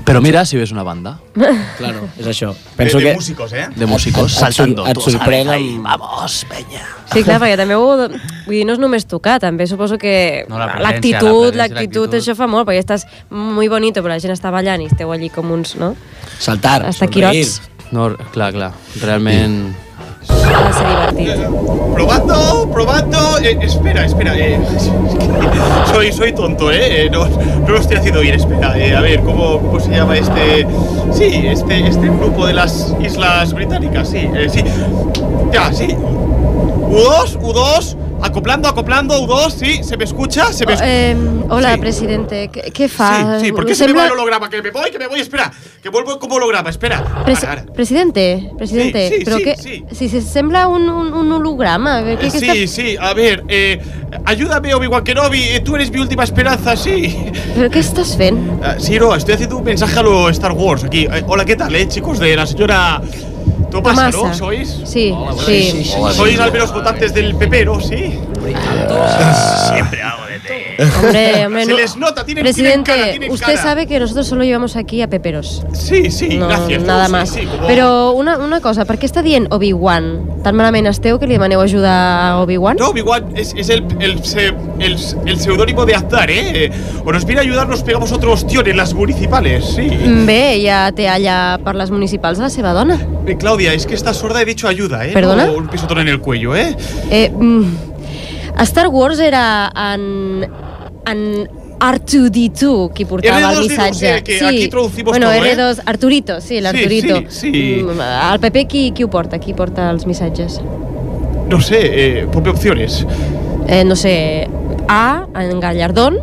S5: Però mira si ves una banda.
S10: Claro, és això. Penso
S5: de
S10: que
S5: músicos, eh? De músicos,
S10: Et- et-
S5: saltando,
S10: Et,
S5: tú
S10: et sorprèn
S5: sabes,
S10: amb... Vamos, penya.
S6: Sí, clar, perquè també ho... Vull dir, no és només tocar, també suposo que
S10: No, la presència, la
S6: l'actitud,
S10: presència,
S6: l'actitud,
S10: l'actitud.
S6: això fa molt, perquè estàs muy bonito, però la gent està ballant i esteu allí com uns, no?
S10: Saltar,
S6: Hasta quirots.
S5: No, clar, clar. Realment...
S6: Ha de ser divertit.
S1: Probando, probando. Eh, espera, espera. eh, soy, soy tonto, ¿eh? Eh, No, no lo estoy haciendo bien. Espera, eh, a ver, ¿cómo, cómo se llama este? Sí, este, este grupo de las Islas Británicas, sí, eh, sí. Ya, sí. U2, U2, acoplando, acoplando, U2, sí, ¿se me escucha? ¿Se me escucha?
S6: Eh, hola, presidente, què, què fa?
S1: Sí, sí, ¿por qué
S6: Us
S1: se me va
S6: sembla-
S1: el holograma? Que me voy, que me voy, espera, que vuelvo como holograma, espera.
S6: Presi-
S1: Ahora, ahora.
S6: presidente, presidente,
S1: Sí, sí,
S6: però
S1: sí,
S6: que,
S1: sí.
S6: si se sembla un, un, un holograma, què, què
S1: Eh, Sí, sí, a ver, eh, ayúdame Obi-Wan Kenobi, eh, tú eres mi última esperanza, sí.
S6: estàs, però què estàs fent?
S1: Ah, sí, no, estoy haciendo un mensaje a los Star Wars aquí. Eh, hola, ¿qué tal, eh, chicos? De la señora Tomasa, ¿no?
S6: Tomasa.
S1: ¿Sois?
S6: Sí, sí.
S1: Sois al menos votantes del PP, ¿no? Sí. Siempre hago de
S6: Hombre, hombre,
S1: Se
S6: no.
S1: les nota, tienen, tienen
S6: Presidente,
S1: cara, tienen
S6: usted
S1: cara.
S6: sabe que nosotros solo llevamos aquí a peperos.
S1: Sí, sí,
S6: no,
S1: gracias,
S6: Nada
S1: sí,
S6: más.
S1: sí, como-
S6: Però una, una cosa, per què està dient Obi-Wan? Tan malament esteu que li demaneu ajuda a Obi-Wan?
S1: No, Obi-Wan es, es el, el, se- el, el seudónimo de Azar, ¿eh? Eh, O nos viene a ayudar, nos pegamos otro ostión en las municipales, sí.
S6: Mm, Bé, ja té allà per les municipals la seva dona.
S1: Eh, Claudia, es que está sorda, he dicho ayuda, ¿eh?
S6: ¿Perdona?
S1: No, un pisotón en el cuello, ¿eh?
S6: Eh, mm, a Star Wars era en... en R2-D2 qui portava el
S1: R2D2,
S6: missatge.
S1: sí, que aquí traducimos
S6: bueno,
S1: todo, eh?
S6: R2, Arturito, sí, l'Arturito.
S1: Sí, sí, sí.
S6: Mm, El PP qui, qui ho porta? Qui porta els missatges?
S1: No sé, eh, ponme opciones.
S6: Eh, no sé, A, en Gallardón,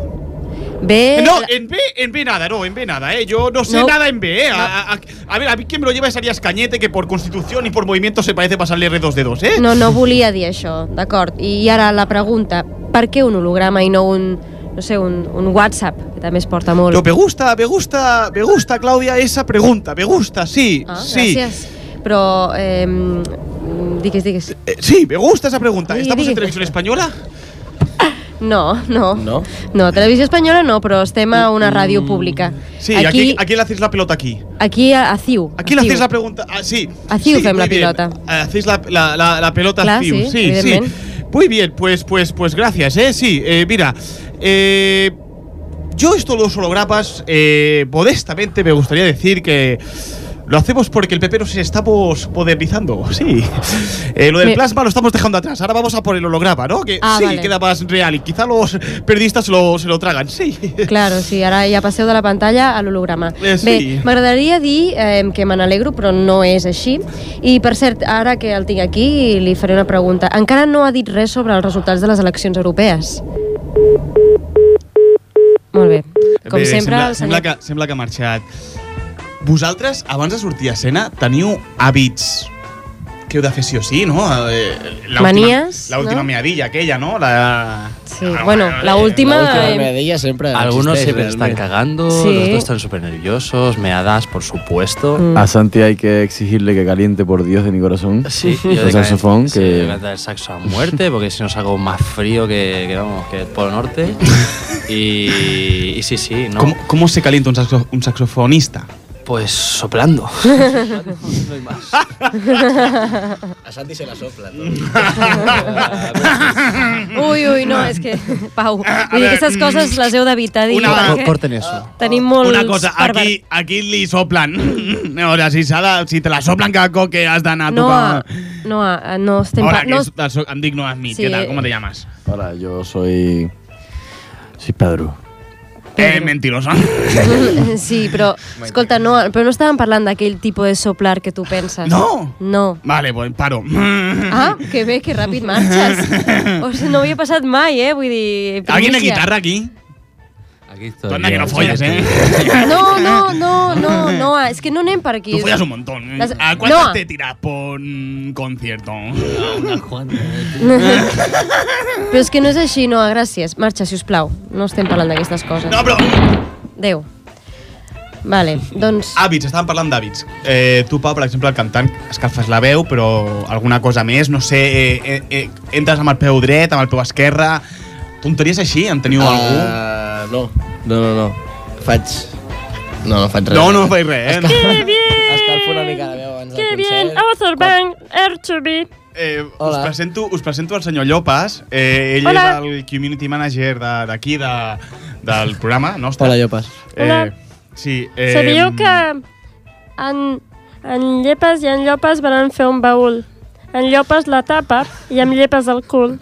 S6: B...
S1: No,
S6: la-
S1: en B, en B nada, no, en B nada, ¿eh? Yo no sé
S6: Eh, No.
S1: nada en B, ¿eh? A, a- a ver, a mí quien me lo lleva es Arias Cañete, que por constitución y por movimiento se parece pasarle R2 de 2, ¿eh?
S6: No, no volia dir això, d'acord. I ara la pregunta, per què un holograma i no un, no sé, un, un WhatsApp, que també es porta molt?
S1: No, me gusta, me gusta, me gusta, Claudia, esa pregunta, me gusta, sí,
S6: Ah,
S1: sí.
S6: Gràcies. Però, eh, mm, digues, digues.
S1: Eh, sí, me gusta esa pregunta.
S6: Sí,
S1: ¿Estamos en
S6: digue.
S1: televisión española?
S6: No, no.
S1: No.
S6: No, Televisió Espanyola no, però estem a una ràdio pública.
S1: Mm. Sí, aquí, aquí,
S6: Aquí,
S1: le hacéis la pelota aquí.
S6: aquí a, a CiU.
S1: Aquí le hacéis la pregunta, ah, sí.
S6: A Ciu
S1: sí,
S6: fem
S1: muy
S6: la
S1: bien. Ah,
S6: pilota.
S1: Hacéis la, la, la, la pelota
S6: Clar,
S1: Ciu,
S6: sí,
S1: sí, sí.
S6: evidentment.
S1: Muy bien, pues, pues, pues gracias, ¿eh? Sí, eh, mira, eh, yo esto los hologramas, eh, modestamente me gustaría decir que lo hacemos porque el PP nos estamos modernizando, sí. Eh, lo del
S13: Me-
S1: plasma lo estamos dejando atrás, ahora vamos a por el holograma, ¿no? Que
S6: Ah,
S1: sí,
S6: vale.
S1: queda más real y quizá los periodistas se lo, se lo tragan, sí.
S6: Claro, sí, ara ja passeu de la pantalla a l'holograma.
S1: Eh, sí.
S6: Bé, m'agradaria dir eh, que me n'alegro, però no és així. I, per cert, ara que el tinc aquí, li faré una pregunta. Encara no ha dit res sobre els resultats de les eleccions europees. Molt bé. Com sempre,
S1: Bé, bé, Eh, sembla,
S6: el
S1: sembla,
S6: senyor...
S1: que, sembla que ha marxat. Vosaltres, abans de sortir a escena, teniu hàbits que heu de fer sí o sí, no? Eh, l'última-
S6: Manies,
S1: L'última
S6: no?
S1: meadilla aquella, no? La...
S6: Sí, bueno, la última... eh,
S5: ella siempre. Algunos
S3: Algunos
S5: siempre
S3: se
S5: están cagando,
S6: Sí.
S5: los dos están súper nerviosos, meadas, por supuesto.
S6: Mm.
S3: A Santi hay que exigirle que caliente por Dios de mi corazón.
S5: Sí, yo
S3: el
S5: de
S3: saxofón.
S5: caliente- sí,
S3: que...
S5: me encanta el saxo a muerte, porque si no salgo más frío que, que, vamos, que el Polo Norte. y, y sí, sí, ¿no?
S1: ¿Cómo, cómo se calienta un, saxo- un saxofonista?
S5: Pues soplando.
S10: No hay más. A Santi se la sopla.
S6: Mm. Ui, ui, no, és que... Pau, vull dir,
S1: veure, mm,
S6: aquestes coses les heu d'evitar dir.
S1: una-
S6: perquè
S1: corten
S5: eso.
S6: Tenim molts
S1: Una cosa,
S6: perver-
S1: aquí, aquí li soplan. o sigui, si, s'ha de- si te la soplan cada cop que has d'anar a
S6: No,
S1: tocar...
S6: no, ah, no estem...
S1: Hola,
S6: pa-
S1: que
S6: no,
S1: és, del so- em dic Noah Smith.
S6: Sí.
S1: Què tal? Com te llamas?
S3: Hola, yo soy. Soy Pedro.
S1: Eh, mentirosa.
S6: Sí, però, escolta, no, però no estàvem parlant d'aquell tipus de soplar que tu penses.
S1: No.
S6: No.
S1: Vale, pues paro.
S10: Mm-hmm.
S6: Ah, que bé, que ràpid marxes. O sigui, no havia passat mai, eh? Vull dir...
S1: ¿Alguien de
S6: primícia.
S1: guitarra aquí?
S2: Aquí
S1: estoy. Anda, que no follas, ¿eh?
S6: No, no, no, no, no, es que no anem per aquí.
S1: Tú follas un montón. ¿eh?
S6: Las-
S1: ¿A cuántas
S6: Noa.
S1: te tiras por un concierto? Unas cuantas.
S6: Però és que no és així, no, gràcies. Marxa, si us plau. No estem parlant d'aquestes coses. No,
S1: però...
S6: Adéu. Vale, doncs...
S10: Ah,
S1: Hàbits, estàvem parlant d'hàbits. Eh, tu, Pau, per exemple, el cantant, escalfes la veu, però alguna cosa més, no sé, eh, eh, eh, entres amb el peu dret, amb el peu esquerre... Tonteries així? En teniu
S5: Eh,
S10: Ah,
S1: algú?
S10: No, no, no, no. Faig... No, no faig res.
S1: No, no faig res, eh?
S10: Escal-
S6: bien!
S10: Escalfo una mica la veu abans del
S6: Que
S10: concert. Ah.
S6: bien, Author Bank, Erchubit.
S1: Eh, us, presento, us presento el senyor Llopas. Eh, ell
S6: Hola.
S1: és el community manager de- d'aquí, de, del programa nostre. Eh,
S10: Hola, Llopas.
S6: Hola.
S1: Sí, eh,
S13: Sabíeu que en, en Llepes i en Llopes van fer un baül. En Llopes la tapa i en Llepes el cul.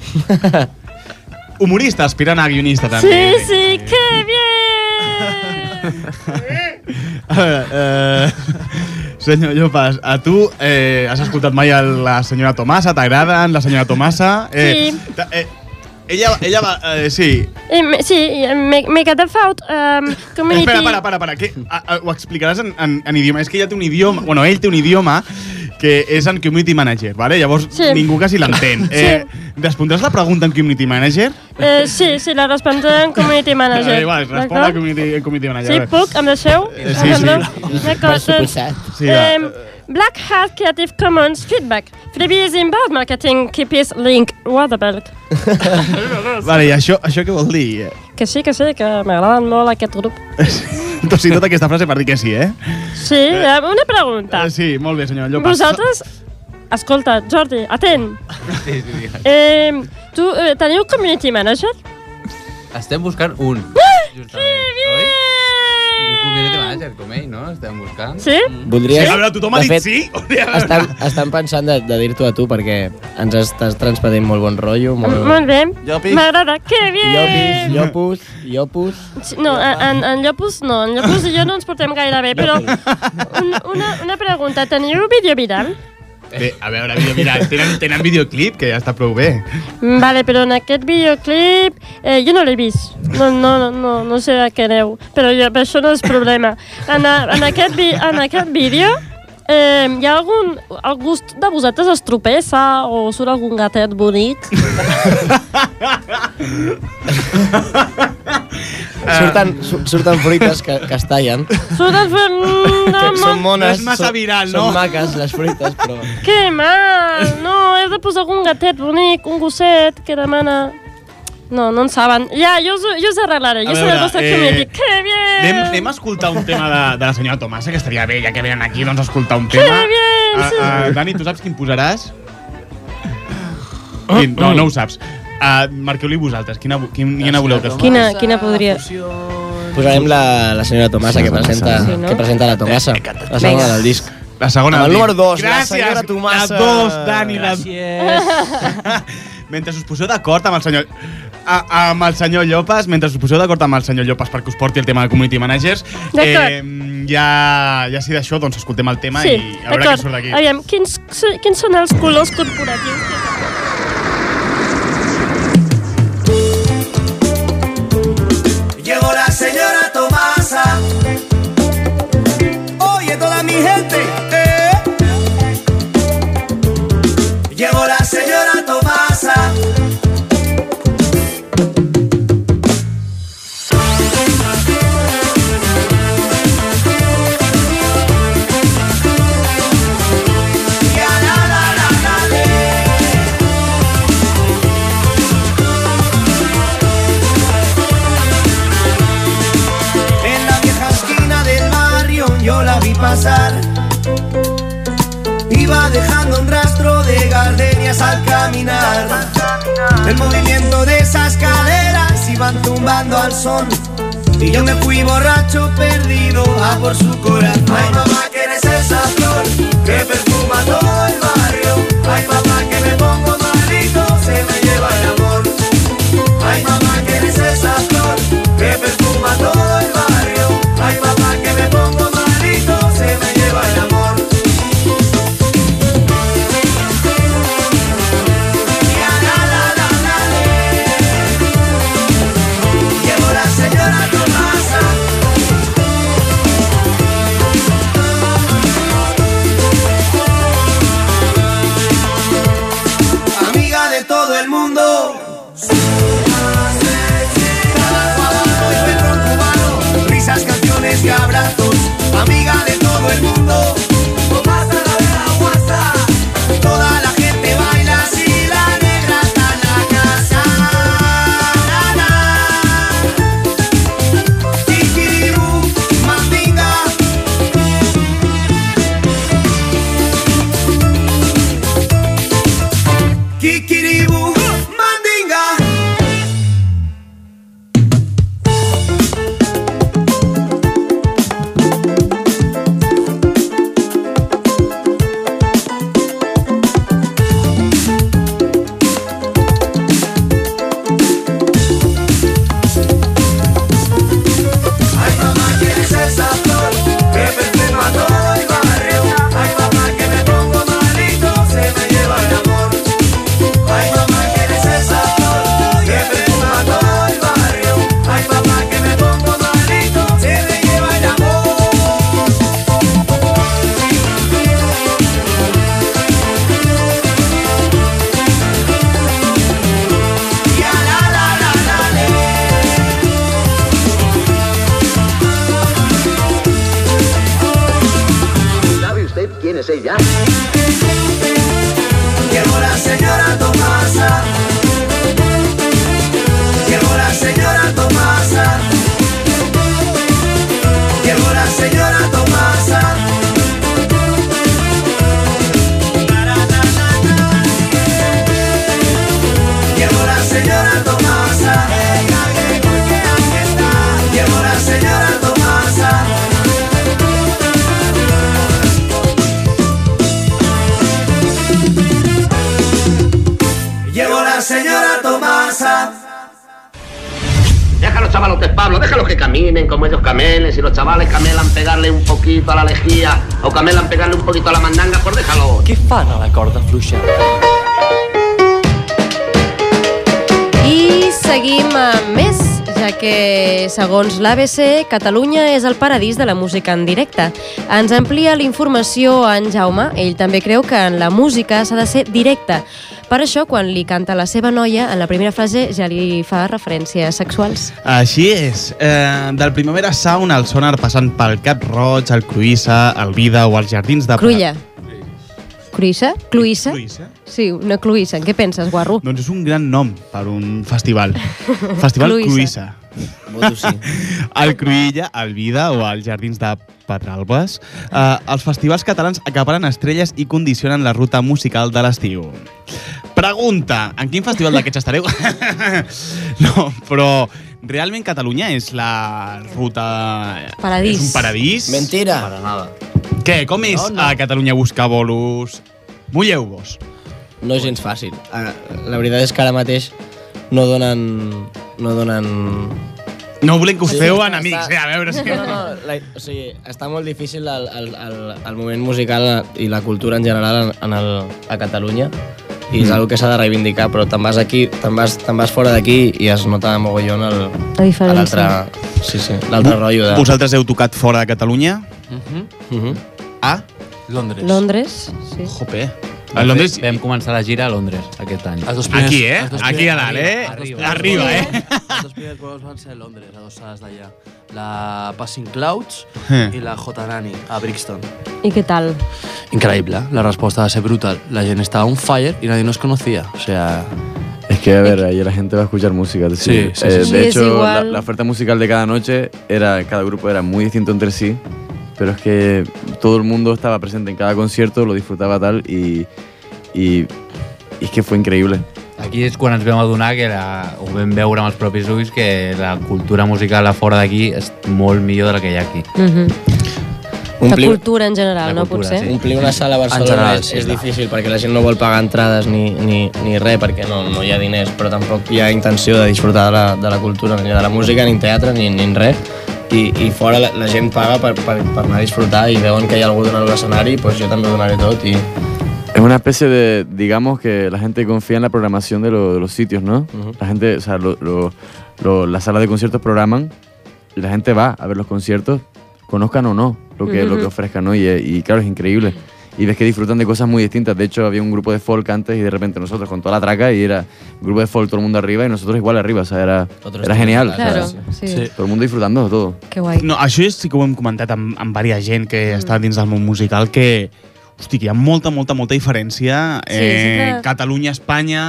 S1: Humorista, aspirant a guionista, també.
S13: Sí, sí, que bien!
S1: Eh, eh, senyor Llopas, a tu eh, has escoltat mai el, la senyora Tomasa? T'agraden la senyora Tomasa? Eh,
S13: Sí.
S1: ta- eh, ella, ella va... Eh, sí.
S13: I, me- sí, i me- me queda faut. Um, community...
S1: Espera, para, para, para. Que, a, a, ho explicaràs en, en, en idioma. És que ella té un idioma... Bueno, ell té un idioma que és en Community Manager, vale? llavors
S13: Sí.
S1: ningú quasi l'entén.
S13: Sí.
S1: Eh, respondràs la pregunta en Community Manager?
S13: Eh, sí, sí, la respondré en community manager.
S1: Eh, igual, respon
S13: d'acord?
S1: al community, al community Manager.
S13: Sí,
S1: a veure.
S13: puc? Em deixeu?
S1: Eh, sí,
S13: Em
S1: sí.
S13: deixeu?
S1: Per
S13: D'acord, doncs...
S1: suposat. Sí, va.
S13: em, Black Hat Creative Commons Feedback. Freebies in Board Marketing Keepis Link Waterberg.
S1: Vale, i això, això què vol dir? Eh,
S13: Que sí, que sí, que m'agraden molt aquest grup.
S1: Tot i tota aquesta frase per dir que sí, eh?
S13: Sí, eh, una pregunta.
S1: Eh, sí, molt bé, senyor Llopas.
S13: Vosaltres... Escolta, Jordi, atent.
S2: Sí, sí, sí.
S13: Eh, tu eh, teniu community manager?
S2: Estem buscant un. Un community manager com ell, no? Estem buscant.
S13: Sí?
S10: Voldries...
S2: Sí, a veure, tothom ha dit sí?
S10: Estan, estan pensant de, de dir-t'ho a tu perquè ens estàs transmetent molt bon rotllo.
S2: Mm.
S10: Molt...
S13: Molt bé.
S10: Llopis.
S13: M'agrada. Que
S10: Llopis,
S13: bien!
S10: llopus, llopus...
S13: Sí, No, en, en Llopus no, en Llopus i jo no ens portem gaire bé, però un, una, una pregunta, teniu vídeo viral?
S1: Bé,
S2: Eh,
S1: a veure, vídeo, mira,
S2: este
S1: tenen, tenen videoclip, que ja està prou bé.
S13: Mm, Vale, però en aquest videoclip eh, jo no l'he vist, no, no, no, no, no sé a què aneu, però jo, això no és problema. En, a- en, aquest, vi, en aquest vídeo eh, hi ha algun... algú de vosaltres es tropeça o surt algun gatet bonic?
S10: Surten, su- surten fruites que, que es tallen.
S13: Surt mm, el...
S10: Que són mones.
S13: És massa
S10: són-
S13: viral, no?
S10: Són maques, les fruites, però...
S13: Que mal! No, heu de posar algun gatet bonic, un gosset que demana... No, no en saben. Ja, jo us, ho- jo us arreglaré.
S1: A
S13: Jo seré
S1: veure,
S13: el vostre
S1: eh,
S13: community. Que bien!
S1: Anem, anem a escoltar un tema de, de la senyora Tomasa, que estaria bé, ja que venen aquí, doncs escoltar un tema.
S13: Que bien, sí.
S1: Ah, ah, Dani, tu saps quin posaràs? Quin? No, no ho saps. Uh, Marqueu-li vosaltres, quina, vo- quin, quina voleu que escolti?
S13: Quina, quina podria...
S10: Posarem la, la senyora Tomasa, que presenta,
S13: Sí, no?
S10: que presenta la Tomasa. La segona
S1: Vinga.
S10: del disc.
S1: La segona
S10: Amb
S1: del
S10: el número
S1: disc.
S10: 2, la
S1: Gràcies,
S10: senyora Tomasa.
S1: La dos, Dani. La... mentre us poseu d'acord amb el senyor... A, amb el senyor Llopas, mentre us poseu d'acord amb el senyor Llopas perquè us porti el tema de Community Managers, eh,
S13: D'acord.
S1: ja, ja si d'això, doncs escoltem el tema
S13: Sí,
S1: i a veure què
S13: d'acord.
S1: surt d'aquí.
S13: Aviam, quins, quins són els colors corporatius?
S14: Llegó la señora Tomasa. Oye, toda mi gente. eh. Llegó la señora Tomasa. Ya, la, la, la, la, le. En la vieja esquina del barrio yo la vi pasar. Iba dejando un rastro de gardenias al caminar. El movimiento de esas caderas iban tumbando al sol. Y yo me fui borracho, perdido, a por su corazón. Ay, mamá, que eres esa flor que perfuma todo el barrio. Ay, papá, que me pongo malito, se me lleva el amor. Ay, mamá, que eres esa flor que perfuma todo platos, amiga de todo el mundo. Con más a la de la guasa, toda la gente baila así, la negra está en la casa. Na, na. Tiquiribú, mandinga. Kikiribú, mandinga. Ay mamá, ¿quién es esa flor? Que perfuma todo el barrio Ay mamá, que me pongo malito, se me lleva el amor Ay mamá, ¿quién es esa flor? Que perfuma todo el barrio Ay mamá, que me pongo malito, se me lleva el amor Ya la la la la le
S4: ¿Sabe usted quién es ella?
S14: Llegó la señora Tomasa. Llegó la señora Tomasa. Llegó la señora Tomasa. Llegó la señora Tomasa. Llegó la señora Tomasa. Llegó la señora Tomasa.
S4: Déjalo, chavalos, que es Pablo, déjalo que caminen como ellos camelen. Si los chavales camelan pegarle un poquito a la lejía o camelan pegarle un poquito a la mandanga, pues déjalo.
S15: Què fan a la corda fluixa?
S6: I seguim amb més, ja que, segons l'ABC, Catalunya és el paradís de la música en directe. Ens amplia la informació en Jaume. Ell també creu que en la música s'ha de ser directe. Per això, quan li canta la seva noia, en la primera frase ja li fa referències sexuals.
S1: Així és. Eh, del Primavera Sound al sonar passant pel Cap Roig, el Cruïssa, el Vida o els Jardins de...
S6: Cruïlla. Cruïssa? Cluïssa? Sí, una cluïssa. En què penses, guarro?
S1: Doncs és un gran nom per un festival. Festival Cruïssa.
S10: Voto sí.
S1: El Cruïlla, el Vida o els Jardins de Pedralbes. Eh, els festivals catalans acaparen estrelles i condicionen la ruta musical de l'estiu. Pregunta, en quin festival d'aquests estareu? no, però realment Catalunya és la ruta... eh,
S6: Paradís.
S1: És un paradís?
S10: Mentira.
S1: Para nada. Què, com és no, no. a Catalunya buscar bolos? Mulleu-vos.
S10: No és gens fàcil. Ara, La veritat és que ara mateix no donen... No donen...
S1: No volem que us
S10: Sí,
S1: feu
S10: està-
S1: enemics, eh? A veure si...
S10: No, no,
S13: Ah.
S10: la, o sigui, està molt difícil el, el, el, el moment musical i la cultura en general en, en el, a Catalunya i és
S6: Mm.
S10: una que s'ha de reivindicar, però te'n vas aquí, te'n vas, te'n vas fora d'aquí i es nota mogollon el,
S6: La diferència.
S10: l'altre sí, sí, l'altre rotllo de...
S1: Vosaltres heu tocat fora de Catalunya?
S10: Uh -huh.
S1: A?
S2: Londres.
S6: Londres, sí.
S1: Jope.
S2: A Londres... Vam començar la gira a Londres aquest any.
S5: Els dos primers-
S1: Aquí, eh?
S5: els dos
S1: Aquí a
S5: primers-
S1: dalt, eh?
S5: Arriba,
S1: Arriba, eh?
S5: Els dos primers vols van ser a Londres, a dos sales d'allà. La Passing Clouds
S1: Eh.
S5: i la J. Nani, a Brixton.
S6: I què tal?
S5: Increíble, la respuesta va a ser brutal. La gente estaba on fire y nadie nos conocía. O sea,
S3: Es que, a ver, ahí la gente va a escuchar música. es decir,
S5: Sí, sí,
S3: eh,
S5: sí, sí.
S3: De
S5: Sí, es
S3: hecho, la,
S5: igual.
S3: la oferta musical de cada noche, era, cada grupo era muy distinto entre sí, pero es que todo el mundo estaba presente en cada concierto, lo disfrutaba tal y, y- y es que fue increíble.
S2: Aquí és quan ens vam adonar que la, ho vam veure amb els propis ulls que la cultura musical a fora d'aquí és molt millor de la que hi ha aquí.
S6: Mm -hmm.
S10: Omplir-
S6: La cultura en general,
S2: La
S6: no,
S2: cultura,
S6: potser?
S2: sí.
S10: Omplir una sala a Barcelona
S2: En general,
S10: és,
S2: sí,
S10: és
S2: clar.
S10: difícil perquè la gent no vol pagar entrades ni, ni, ni res perquè no, no hi ha diners, però tampoc hi ha intenció de disfrutar de la, de la cultura, ni de la música, ni teatre, ni, ni en res. I, i fora la, la gent paga per, per, per anar a disfrutar i veuen que hi ha algú donant l'escenari, doncs jo també ho donaré tot i...
S3: Es una especie de, digamos que la gente confía en la programación de, lo- de los sitios, ¿no? La gente, o sea, lo- lo- lo- las salas de conciertos programan y la gente va a ver los conciertos, conozcan o no lo que, lo que
S6: Ujú.
S3: ofrezcan, ¿no? Y, eh, y claro, es increíble. y ves que disfrutan de cosas muy distintas. De hecho, había un grupo de folk antes y de repente nosotros con toda la traca y era grupo de folk todo el mundo arriba y nosotros igual arriba. O sea, era, era
S1: estilo,
S3: genial.
S1: claro,
S3: o sea,
S1: sí. Sí.
S3: Todo el mundo disfrutando de todo.
S13: Que guai.
S1: No, això és, sí que ho hem comentat amb, amb varia gent que mm. està dins del món musical, que hosti, que hi ha molta, molta, molta diferència eh,
S13: Sí, sí que-
S1: Catalunya, Espanya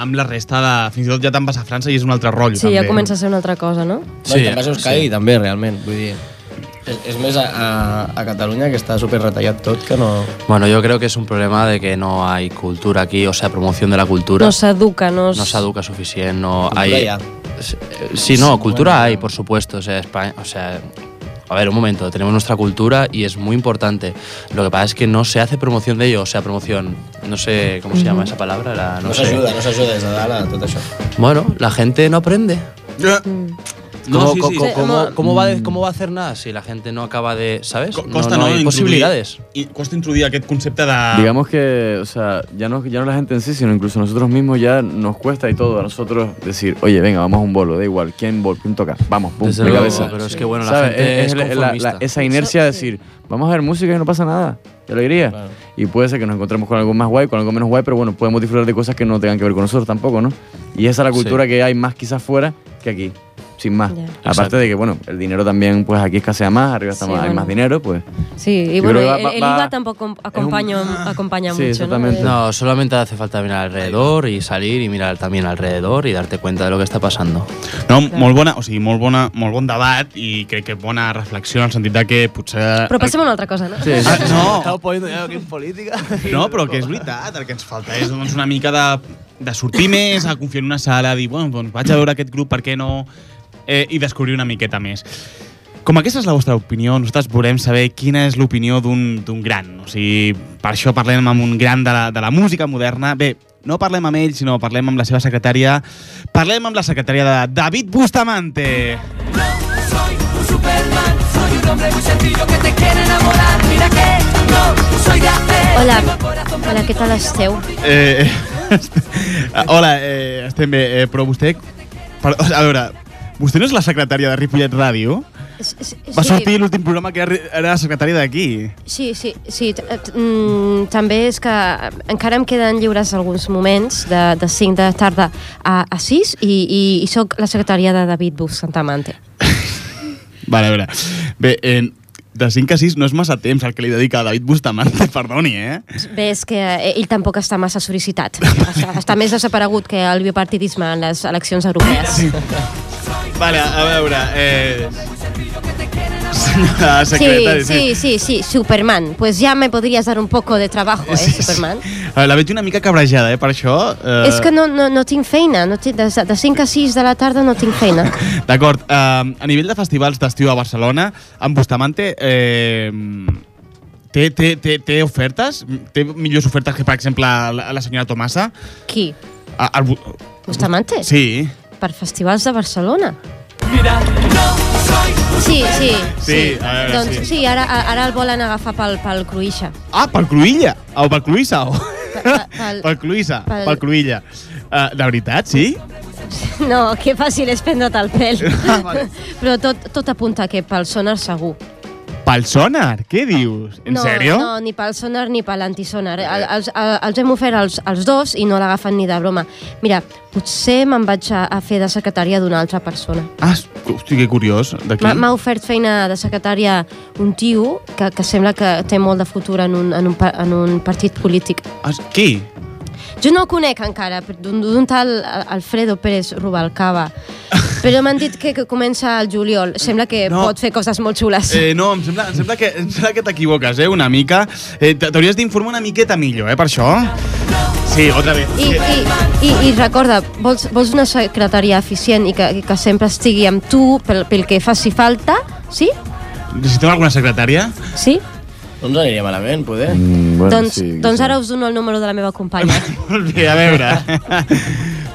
S1: amb la resta de... Fins i tot ja te'n vas a França i és un altre rotllo
S13: Sí,
S1: també.
S13: ja comença a ser una altra cosa, no?
S10: Sí, no, i te'n vas a Euskadi sí. també, realment. Vull dir, és, és més a, a, a Catalunya que està super retallat tot que no...
S5: Bueno, yo creo que es un problema de que no hay cultura aquí, o sea, promoción de la cultura.
S13: No s'educa, no...
S5: No se educa suficiente, no
S10: Pues Cultura
S5: hay... eh,
S10: hay.
S5: Sí, no, cultura hay, por supuesto. O sea, España, o sea, a ver, un momento, tenemos nuestra cultura y es muy importante. Lo que pasa es que no se hace promoción de ello, o sea, promoción, no sé cómo se llama
S10: Ujú.
S5: esa palabra. La, no
S10: No
S5: sé.
S10: s'ajuda, no s'ajuda des de dalt a tot això.
S5: Bueno, la gente no aprende.
S10: No,
S5: ¿Cómo,
S10: sí,
S5: co-
S10: sí,
S5: co-
S10: sí.
S5: cómo-
S10: Mm.
S5: cómo va, a- cómo va a hacer nada si la gente no acaba de, ¿sabes?
S1: Co- Costa,
S5: no,
S1: no,
S5: hay
S1: introduir-
S5: posibilidades.
S1: I costa introduir aquest concepte de...
S5: Ah.
S3: Digamos que, o sea, ya no, ya no la gente en sí, sino incluso nosotros mismos ya nos cuesta y todo a nosotros decir, oye, venga, vamos a un bolo, da igual, ¿quién, bol, quién toca? Vamos, pum,
S5: Desde
S3: de
S5: luego,
S3: cabeza.
S5: pero es que, bueno, la
S3: ¿Sabes?
S5: gente es
S3: la- la-
S5: conformista.
S3: esa inercia de decir, vamos a ver música y no pasa nada, qué alegría. Y puede ser que nos encontremos con algo más guay, con algo menos guay, pero bueno, podemos disfrutar de cosas que no tengan que ver con nosotros tampoco, ¿no? Y esa es la cultura
S5: Sí.
S3: que hay más quizás fuera que aquí, sin más.
S5: Exacto.
S3: Aparte de que, bueno, el dinero también, pues aquí escasea más, arriba está
S13: Sí,
S3: más, hay
S13: bueno.
S3: más dinero, pues...
S13: Sí, i
S3: Yo
S13: bueno,
S3: creo
S13: el,
S3: que va-
S13: el
S3: va-
S13: IVA tampoc com- acompanya,
S1: Ah.
S13: acompanya mucho,
S5: Sí,
S13: no?
S6: Eh,
S5: exactamente. No, solamente hace falta mirar alrededor y salir y mirar también alrededor y darte cuenta de lo que está pasando.
S1: No, molt bona, o sigui, molt, bona, molt bon debat i crec que bona reflexió en el sentit de que potser...
S13: Però passem a una altra cosa, no?
S1: Sí, sí. Ah, no.
S5: Estaba poniendo ya aquí en política.
S1: No, però que és veritat, el que ens falta és doncs, una mica de, de sortir més, a confiar en una sala, dir, bueno, doncs vaig a veure aquest grup, per què no... Eh, I descobrir una miqueta més. Com aquesta és la vostra opinió, nosaltres volem saber quina és l'opinió d'un d'un gran. O sigui, per això parlem amb un gran de la, de la música moderna. Bé, no parlem amb ell, sinó parlem amb la seva secretària. Parlem amb la secretària de David Bustamante.
S14: Soy un Superman, soy un hombre muy sencillo que te quiere enamorar. Mira que no soy de hacer.
S6: Hola, hola, què tal esteu?
S1: Eh, hola, eh, estem bé, eh, però vostè... Per, a veure, vostè no és la secretària de Ripollet Ràdio? Va sortir l'últim programa que era era la secretària d'aquí.
S6: Sí, sí, sí. t- t- mm, També és que encara em queden lliures alguns moments de, de 5 de tarda a, a 6 i, i, i sóc la secretària de David Bus Santamante.
S1: Vale, a veure. Bé, eh, de 5 a 6 no és massa temps el que li dedica a David Bustamante, perdoni, eh?
S6: Bé, és que eh, ell tampoc està massa sol·licitat. Està, està més desaparegut que el bipartidisme en les eleccions europees.
S1: Vale, a veure, eh... Senyora secretària,
S6: sí, sí, sí, Superman. Pues ya me podrías dar un poco de trabajo, eh, Superman.
S1: A veure, la veig una mica cabrejada, eh, per això. Eh...
S6: És que no, no, no tinc feina. No tinc, de, de 5 a 6 de la tarda no tinc feina.
S1: D'acord, eh, a nivell de festivals d'estiu a Barcelona, en Bustamante eh, té, té, té, té ofertes? Té millors ofertes que, per exemple, la, la senyora Tomasa?
S6: Qui?
S1: A, al, Bu-
S6: Bustamante?
S1: sí.
S6: Per festivals de Barcelona.
S14: Mira, no soy un
S6: Sí, sí.
S1: Sí, a veure,
S6: Doncs sí, ara, a- ara el volen agafar pel, pel Cruïxa.
S1: Ah, pel Cruïlla! O pel Cruïssa, o...
S6: pel-
S1: Pel Cruïssa,
S6: pel-
S1: pel Cruïlla. Eh, de veritat, sí?
S6: No, que fàcil és prendre't el pèl.
S1: Ah,
S6: Però tot, tot apunta que pel sonar segur.
S1: Pel Sonar, què dius? En
S6: no,
S1: sèrio?
S6: No, ni pel sonar ni per l'antisonar. El, els, el- els hem ofert els, els dos i no l'agafen ni de broma. Mira, potser me'n vaig a, a fer de secretària d'una altra persona.
S1: Ah, hosti, que curiós. D'aquí?
S6: M'ha m'ha ofert feina de secretària un tio que, que sembla que té molt de futur en un, en un, pa- en un partit polític.
S1: Ah, qui?
S6: Jo no el conec encara, però d'un d'un tal Alfredo Pérez Rubalcaba. Però m'han dit que, que comença al juliol. Sembla que
S1: No.
S6: no. pot fer coses molt xules.
S1: Eh, no, em sembla, em sembla que, em sembla que t'equivoques, eh, una mica. Eh, t- T'hauries d'informar una miqueta millor, eh, per això. Sí, otra vez.
S6: I, i, i, I recorda, vols, vols una secretària eficient i que, que sempre estigui amb tu pel, pel que faci falta, sí?
S1: Necessitem alguna secretària?
S6: Sí?
S10: No ens aniria malament, poder.
S3: Mm,
S6: doncs, doncs ara us dono el número de la meva companya.
S1: Molt bé, a veure.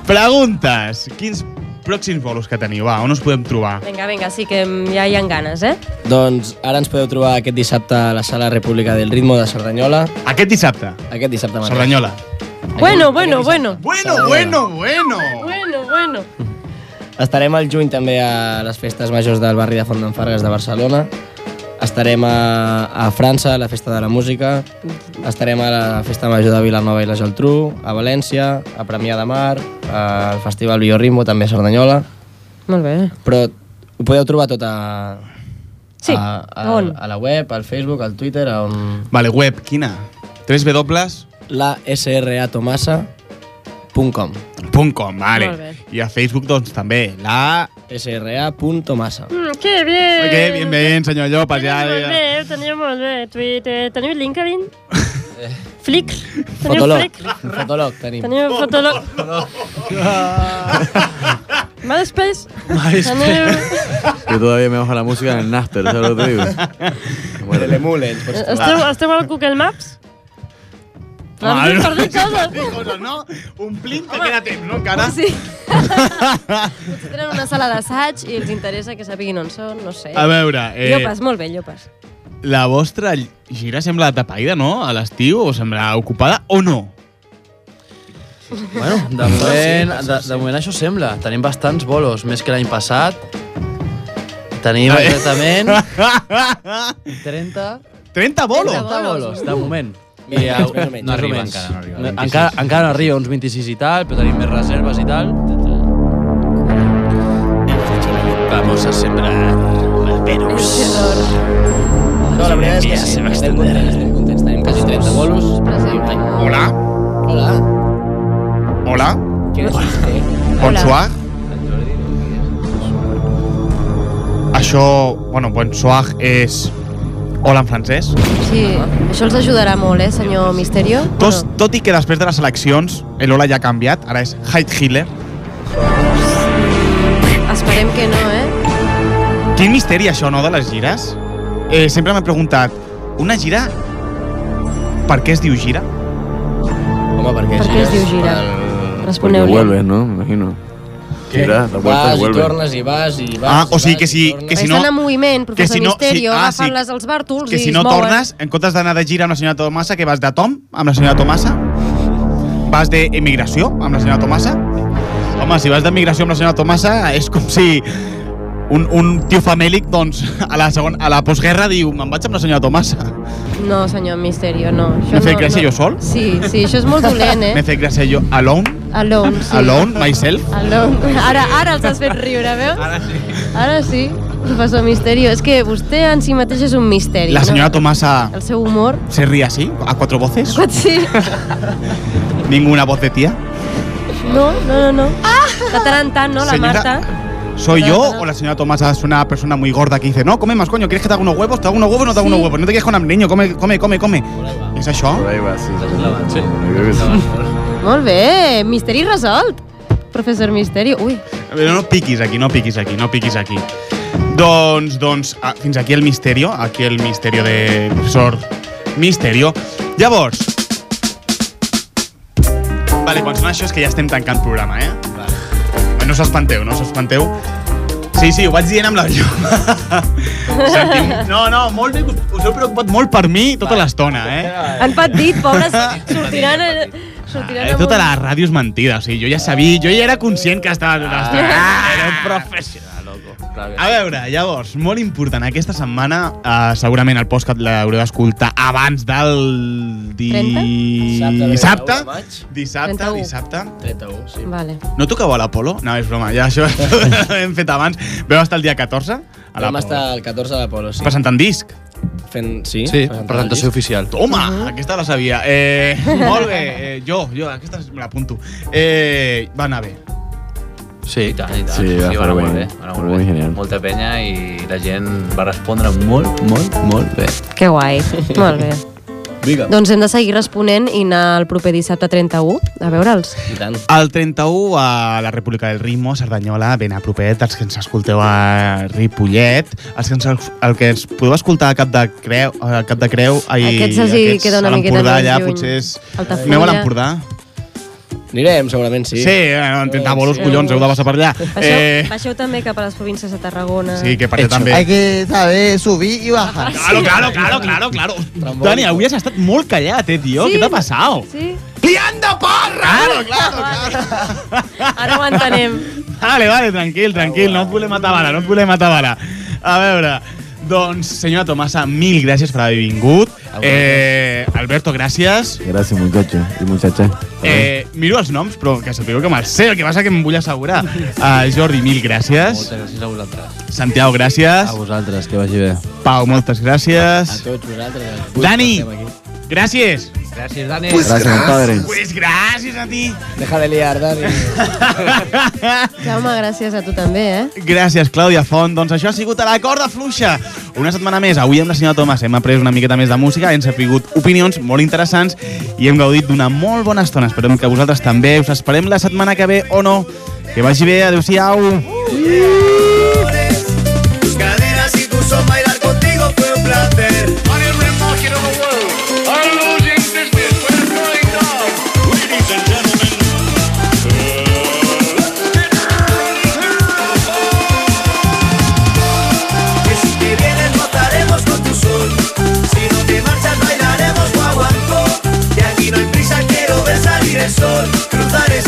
S1: Preguntes. Quins pròxims bolos que teniu? Va, on us podem trobar?
S6: vinga, vinga, sí que mm, ja hi ha ganes, eh?
S10: Doncs ara ens podeu trobar aquest dissabte a la Sala República del Ritmo de Cerdanyola.
S1: Aquest dissabte?
S10: Aquest dissabte mateix.
S1: Cerdanyola.
S13: Bueno, bueno, bueno.
S1: Bueno, bueno, bueno.
S13: Bueno, bueno.
S10: Estarem al juny també a les festes majors del barri de Font d'en Fargues de Barcelona. Estarem a, a França, a la Festa de la Música, estarem a la Festa Major de Vilanova i la Geltrú, a València, a Premià de Mar, al Festival Biorritmo, també a Cerdanyola.
S6: Molt bé.
S10: Però ho podeu trobar tot a...
S6: Sí,
S10: a, a,
S6: on?
S10: A la web, al Facebook, al Twitter, a on...
S1: Vale, web, quina? 3 W?
S10: La sratomassa.com
S1: .com, vale. I a Facebook, doncs, també. La...
S10: sra.tomassa.
S13: Mm, que bien!
S1: Ok, bien, bien, senyor Llopas, ja...
S13: Molt
S1: ja.
S13: bé,
S6: eh,
S13: ho teniu molt bé. Twitter, teniu LinkedIn?
S1: Eh.
S13: Flick? Teniu
S10: Fotolog.
S13: Flick?
S10: Fotolog tenim.
S13: Teniu Fotolog? MySpace?
S3: Yo todavía me bajo la música en el Napster, ¿sabes lo que te digo?
S10: Telemule.
S13: Esteu, esteu al Google Maps?
S1: Ah,
S13: Perdí-
S1: no.
S13: perdí coses.
S1: coses, no? Omplint que queda temps, no, encara?
S6: Sí. Potser tenen una sala d'assaig i els interessa que sapiguin on són, no sé.
S1: A veure, eh,
S6: Llopes, molt bé, Llopes.
S1: La vostra ll- gira sembla tapaïda, no? A l'estiu, o sembla ocupada, o no?
S5: Bueno, de moment, de, de moment això sembla. Tenim bastants bolos, més que l'any passat. Tenim
S1: A veure.
S5: exactament 30...
S1: 30 bolos?
S5: 30 bolos, de moment.
S2: Més
S5: I,
S2: o menys,
S5: eh,
S2: no arriba
S5: més.
S2: encara, no arriba,
S5: No,
S2: 26.
S5: encara, encara no arriba, uns 26 i tal, però tenim més reserves i tal. Vamos a sembrar malveros.
S10: No, la veritat és que sí, estem contents, estem contents. Tenim quasi 30 bolos.
S1: Hola.
S10: Hola.
S1: Hola.
S10: Què és vostè?
S1: Bonsoir. Això, bueno, bonsoir és... Hola en francès.
S6: Sí, això els ajudarà molt, eh, senyor Misterio?
S1: Tot, tot i que després de les eleccions l'Hola ja ha canviat, ara és Hyde Hitler.
S6: Esperem que no, eh?
S1: Quin misteri això, no, de les gires? Eh, sempre m'he preguntat, una gira, per què es diu gira?
S10: Home, perquè
S6: Per què es diu gira?
S3: Porque
S6: Responeu-li.
S3: vuelves, ¿no? Me imagino. Mira, la
S5: Ah,
S3: vuelta
S10: Vas
S3: y
S10: i
S3: vuelves.
S10: tornes i vas i vas.
S1: Ah, o sigui que si, que si no...
S6: Estan en moviment,
S1: que
S6: professor
S1: si no-
S6: Misterio,
S1: sí, ah, sí,
S6: agafant-les als bàrtols
S1: Que
S6: i
S1: si
S6: es
S1: no
S6: mouen.
S1: tornes, en comptes d'anar de gira amb la senyora Tomasa, que vas de Tom amb la senyora Tomasa? Vas d'emigració amb la senyora Tomasa? Home, si vas d'emigració amb la senyora Tomasa, és com si un, un tio famèlic, doncs, a la, segon, a la postguerra diu me'n vaig amb la senyora Tomasa.
S6: No, senyor Misterio, no. Això
S1: M'he fet
S6: no,
S1: gràcia
S6: no.
S1: jo sol?
S6: Sí, sí, això és molt dolent, eh?
S1: M'he fet gràcia jo alone,
S6: Alone, sí.
S1: alone, myself.
S6: Alone. Ara, ara els has fet riure, veus? Ara sí. Ara sí, professor Misterio. És que vostè en si mateix és un misteri,
S1: La senyora
S6: no?
S1: Tomasa
S6: El seu humor...
S1: se ríe así, a cuatro voces.
S6: Sí.
S1: Ninguna voz de tía.
S6: No, no, no, no. De tant en tant, no, la
S1: Senyora-
S6: Marta?
S1: ¿Soy yo o la señora Tomasa es una persona muy gorda que dice, no, come más, coño, ¿quieres que te haga unos huevos? Te hago unos huevos, no te hago unos huevos, no te quedes con hambre, niño, come, come, come, come. ¿Es eso? Por
S3: ahí va, sí.
S1: sí.
S6: Molt bé, misteri resolt. Professor Misterio, ui.
S1: Però no piquis aquí, no piquis aquí, no piquis aquí. Doncs, doncs, ah, fins aquí el misterio, aquí el misterio de professor Misterio. Llavors, vale, quan sona això és que ja estem tancant programa, eh? No s'espanteu, no s'espanteu. Sí, sí, ho vaig dient amb la llum. Sentim... No, no, molt bé, us- us heu preocupat molt per mi tota l'estona, eh?
S2: Ah,
S6: Han patit, pobres, sortiran... a- sortiran
S1: Eh,
S6: amb
S1: tota
S6: un-
S1: la ràdio és mentida, o sigui, jo ja sabia, jo ja era conscient que estava tota l'estona.
S6: Ah.
S1: Era un professional, loco. A veure, llavors, molt important, aquesta setmana eh, segurament el podcast l'haureu d'escoltar abans del di...
S6: 30?
S1: dissabte.
S6: Dissabte,
S1: dissabte.
S10: 31, sí.
S6: Vale.
S1: No tocau a l'Apolo? No, és broma, ja això ho hem fet abans. Veu estar el dia 14? A
S10: Vam
S1: l'Apolo.
S10: estar el 14 a l'Apolo, sí.
S1: Presentant disc?
S10: Fent, sí.
S1: Sí,
S10: presentant
S1: presentació
S10: el disc.
S5: oficial.
S1: Toma, aquesta la sabia. Eh, molt bé, eh, jo, jo, aquesta me l'apunto. Eh, va anar bé.
S2: Sí, i tant, i tant.
S3: Sí, va
S2: va anar
S3: fer
S2: molt
S3: bé,
S2: bé. va anar
S3: molt bé, genial.
S2: Molta penya i la gent va respondre molt, molt, molt bé.
S6: Que guai, molt bé.
S2: Vinga.
S6: Doncs hem de seguir responent i anar el proper dissabte 31 a veure'ls.
S1: El 31 a la República del Ritmo, a Cerdanyola, ben a propet, els que ens escolteu a Ripollet, els que ens, el que ens podeu escoltar a Cap de Creu, a Cap de Creu, ai,
S6: Aquests els hi queda una
S1: a
S6: miqueta
S1: l'Empordà,
S6: més
S1: allà,
S6: lluny.
S1: potser és...
S6: Altafulla.
S1: Aneu a l'Empordà?
S10: Anirem, segurament, sí.
S1: Sí, bueno, en 30 bolos,
S6: sí.
S1: collons, heu de passar per allà.
S6: Baixeu, baixeu també cap a les províncies de Tarragona.
S1: Eh. sí, que per allà també.
S9: Hay que saber subir y bajar.
S1: Claro, claro, claro, claro, claro. Dani, avui has estat molt callat, eh, tio?
S6: Sí.
S1: Què t'ha passat?
S6: Sí?
S1: Liando porra! Claro, claro,
S6: claro. Ara ho entenem.
S1: Vale, vale, tranquil, tranquil, no et volem matar bala, no et volem matar bala. A veure, Doncs, senyora Tomasa, mil gràcies per haver vingut. Eh, Alberto, gràcies.
S3: Gracias, muchachos y muchachas.
S1: Eh, miro els noms, però que sapigueu que me'ls sé, el que passa que em vull assegurar. Uh, Jordi, mil gràcies.
S5: Moltes gràcies a vosaltres.
S1: Santiago, gràcies.
S16: A vosaltres, que vagi bé.
S1: Pau, moltes gràcies.
S4: Tots vosaltres.
S1: Dani, gràcies.
S5: Gràcies, Dani.
S1: Pues Gràcies, gràcies. compadre.
S4: Pues
S1: gràcies a ti.
S4: Deja de liar, Dani.
S6: Jaume, gràcies a tu també, eh?
S1: Gràcies, Clàudia Font. Doncs això ha sigut a la corda fluixa. Una setmana més, avui amb la senyora Tomàs hem après una miqueta més de música, hem sapigut opinions molt interessants i hem gaudit d'una molt bona estona. Esperem que vosaltres també us esperem la setmana que ve o no. Que vagi bé, adeu-siau.
S14: Tus caderas y tus ojos bailar contigo fue un placer. Que si te vienes notaremos con tu sol. Si no te marchas bailaremos guaguancó. De aquí no hay prisa, quiero ver salir el sol. Cruzar ese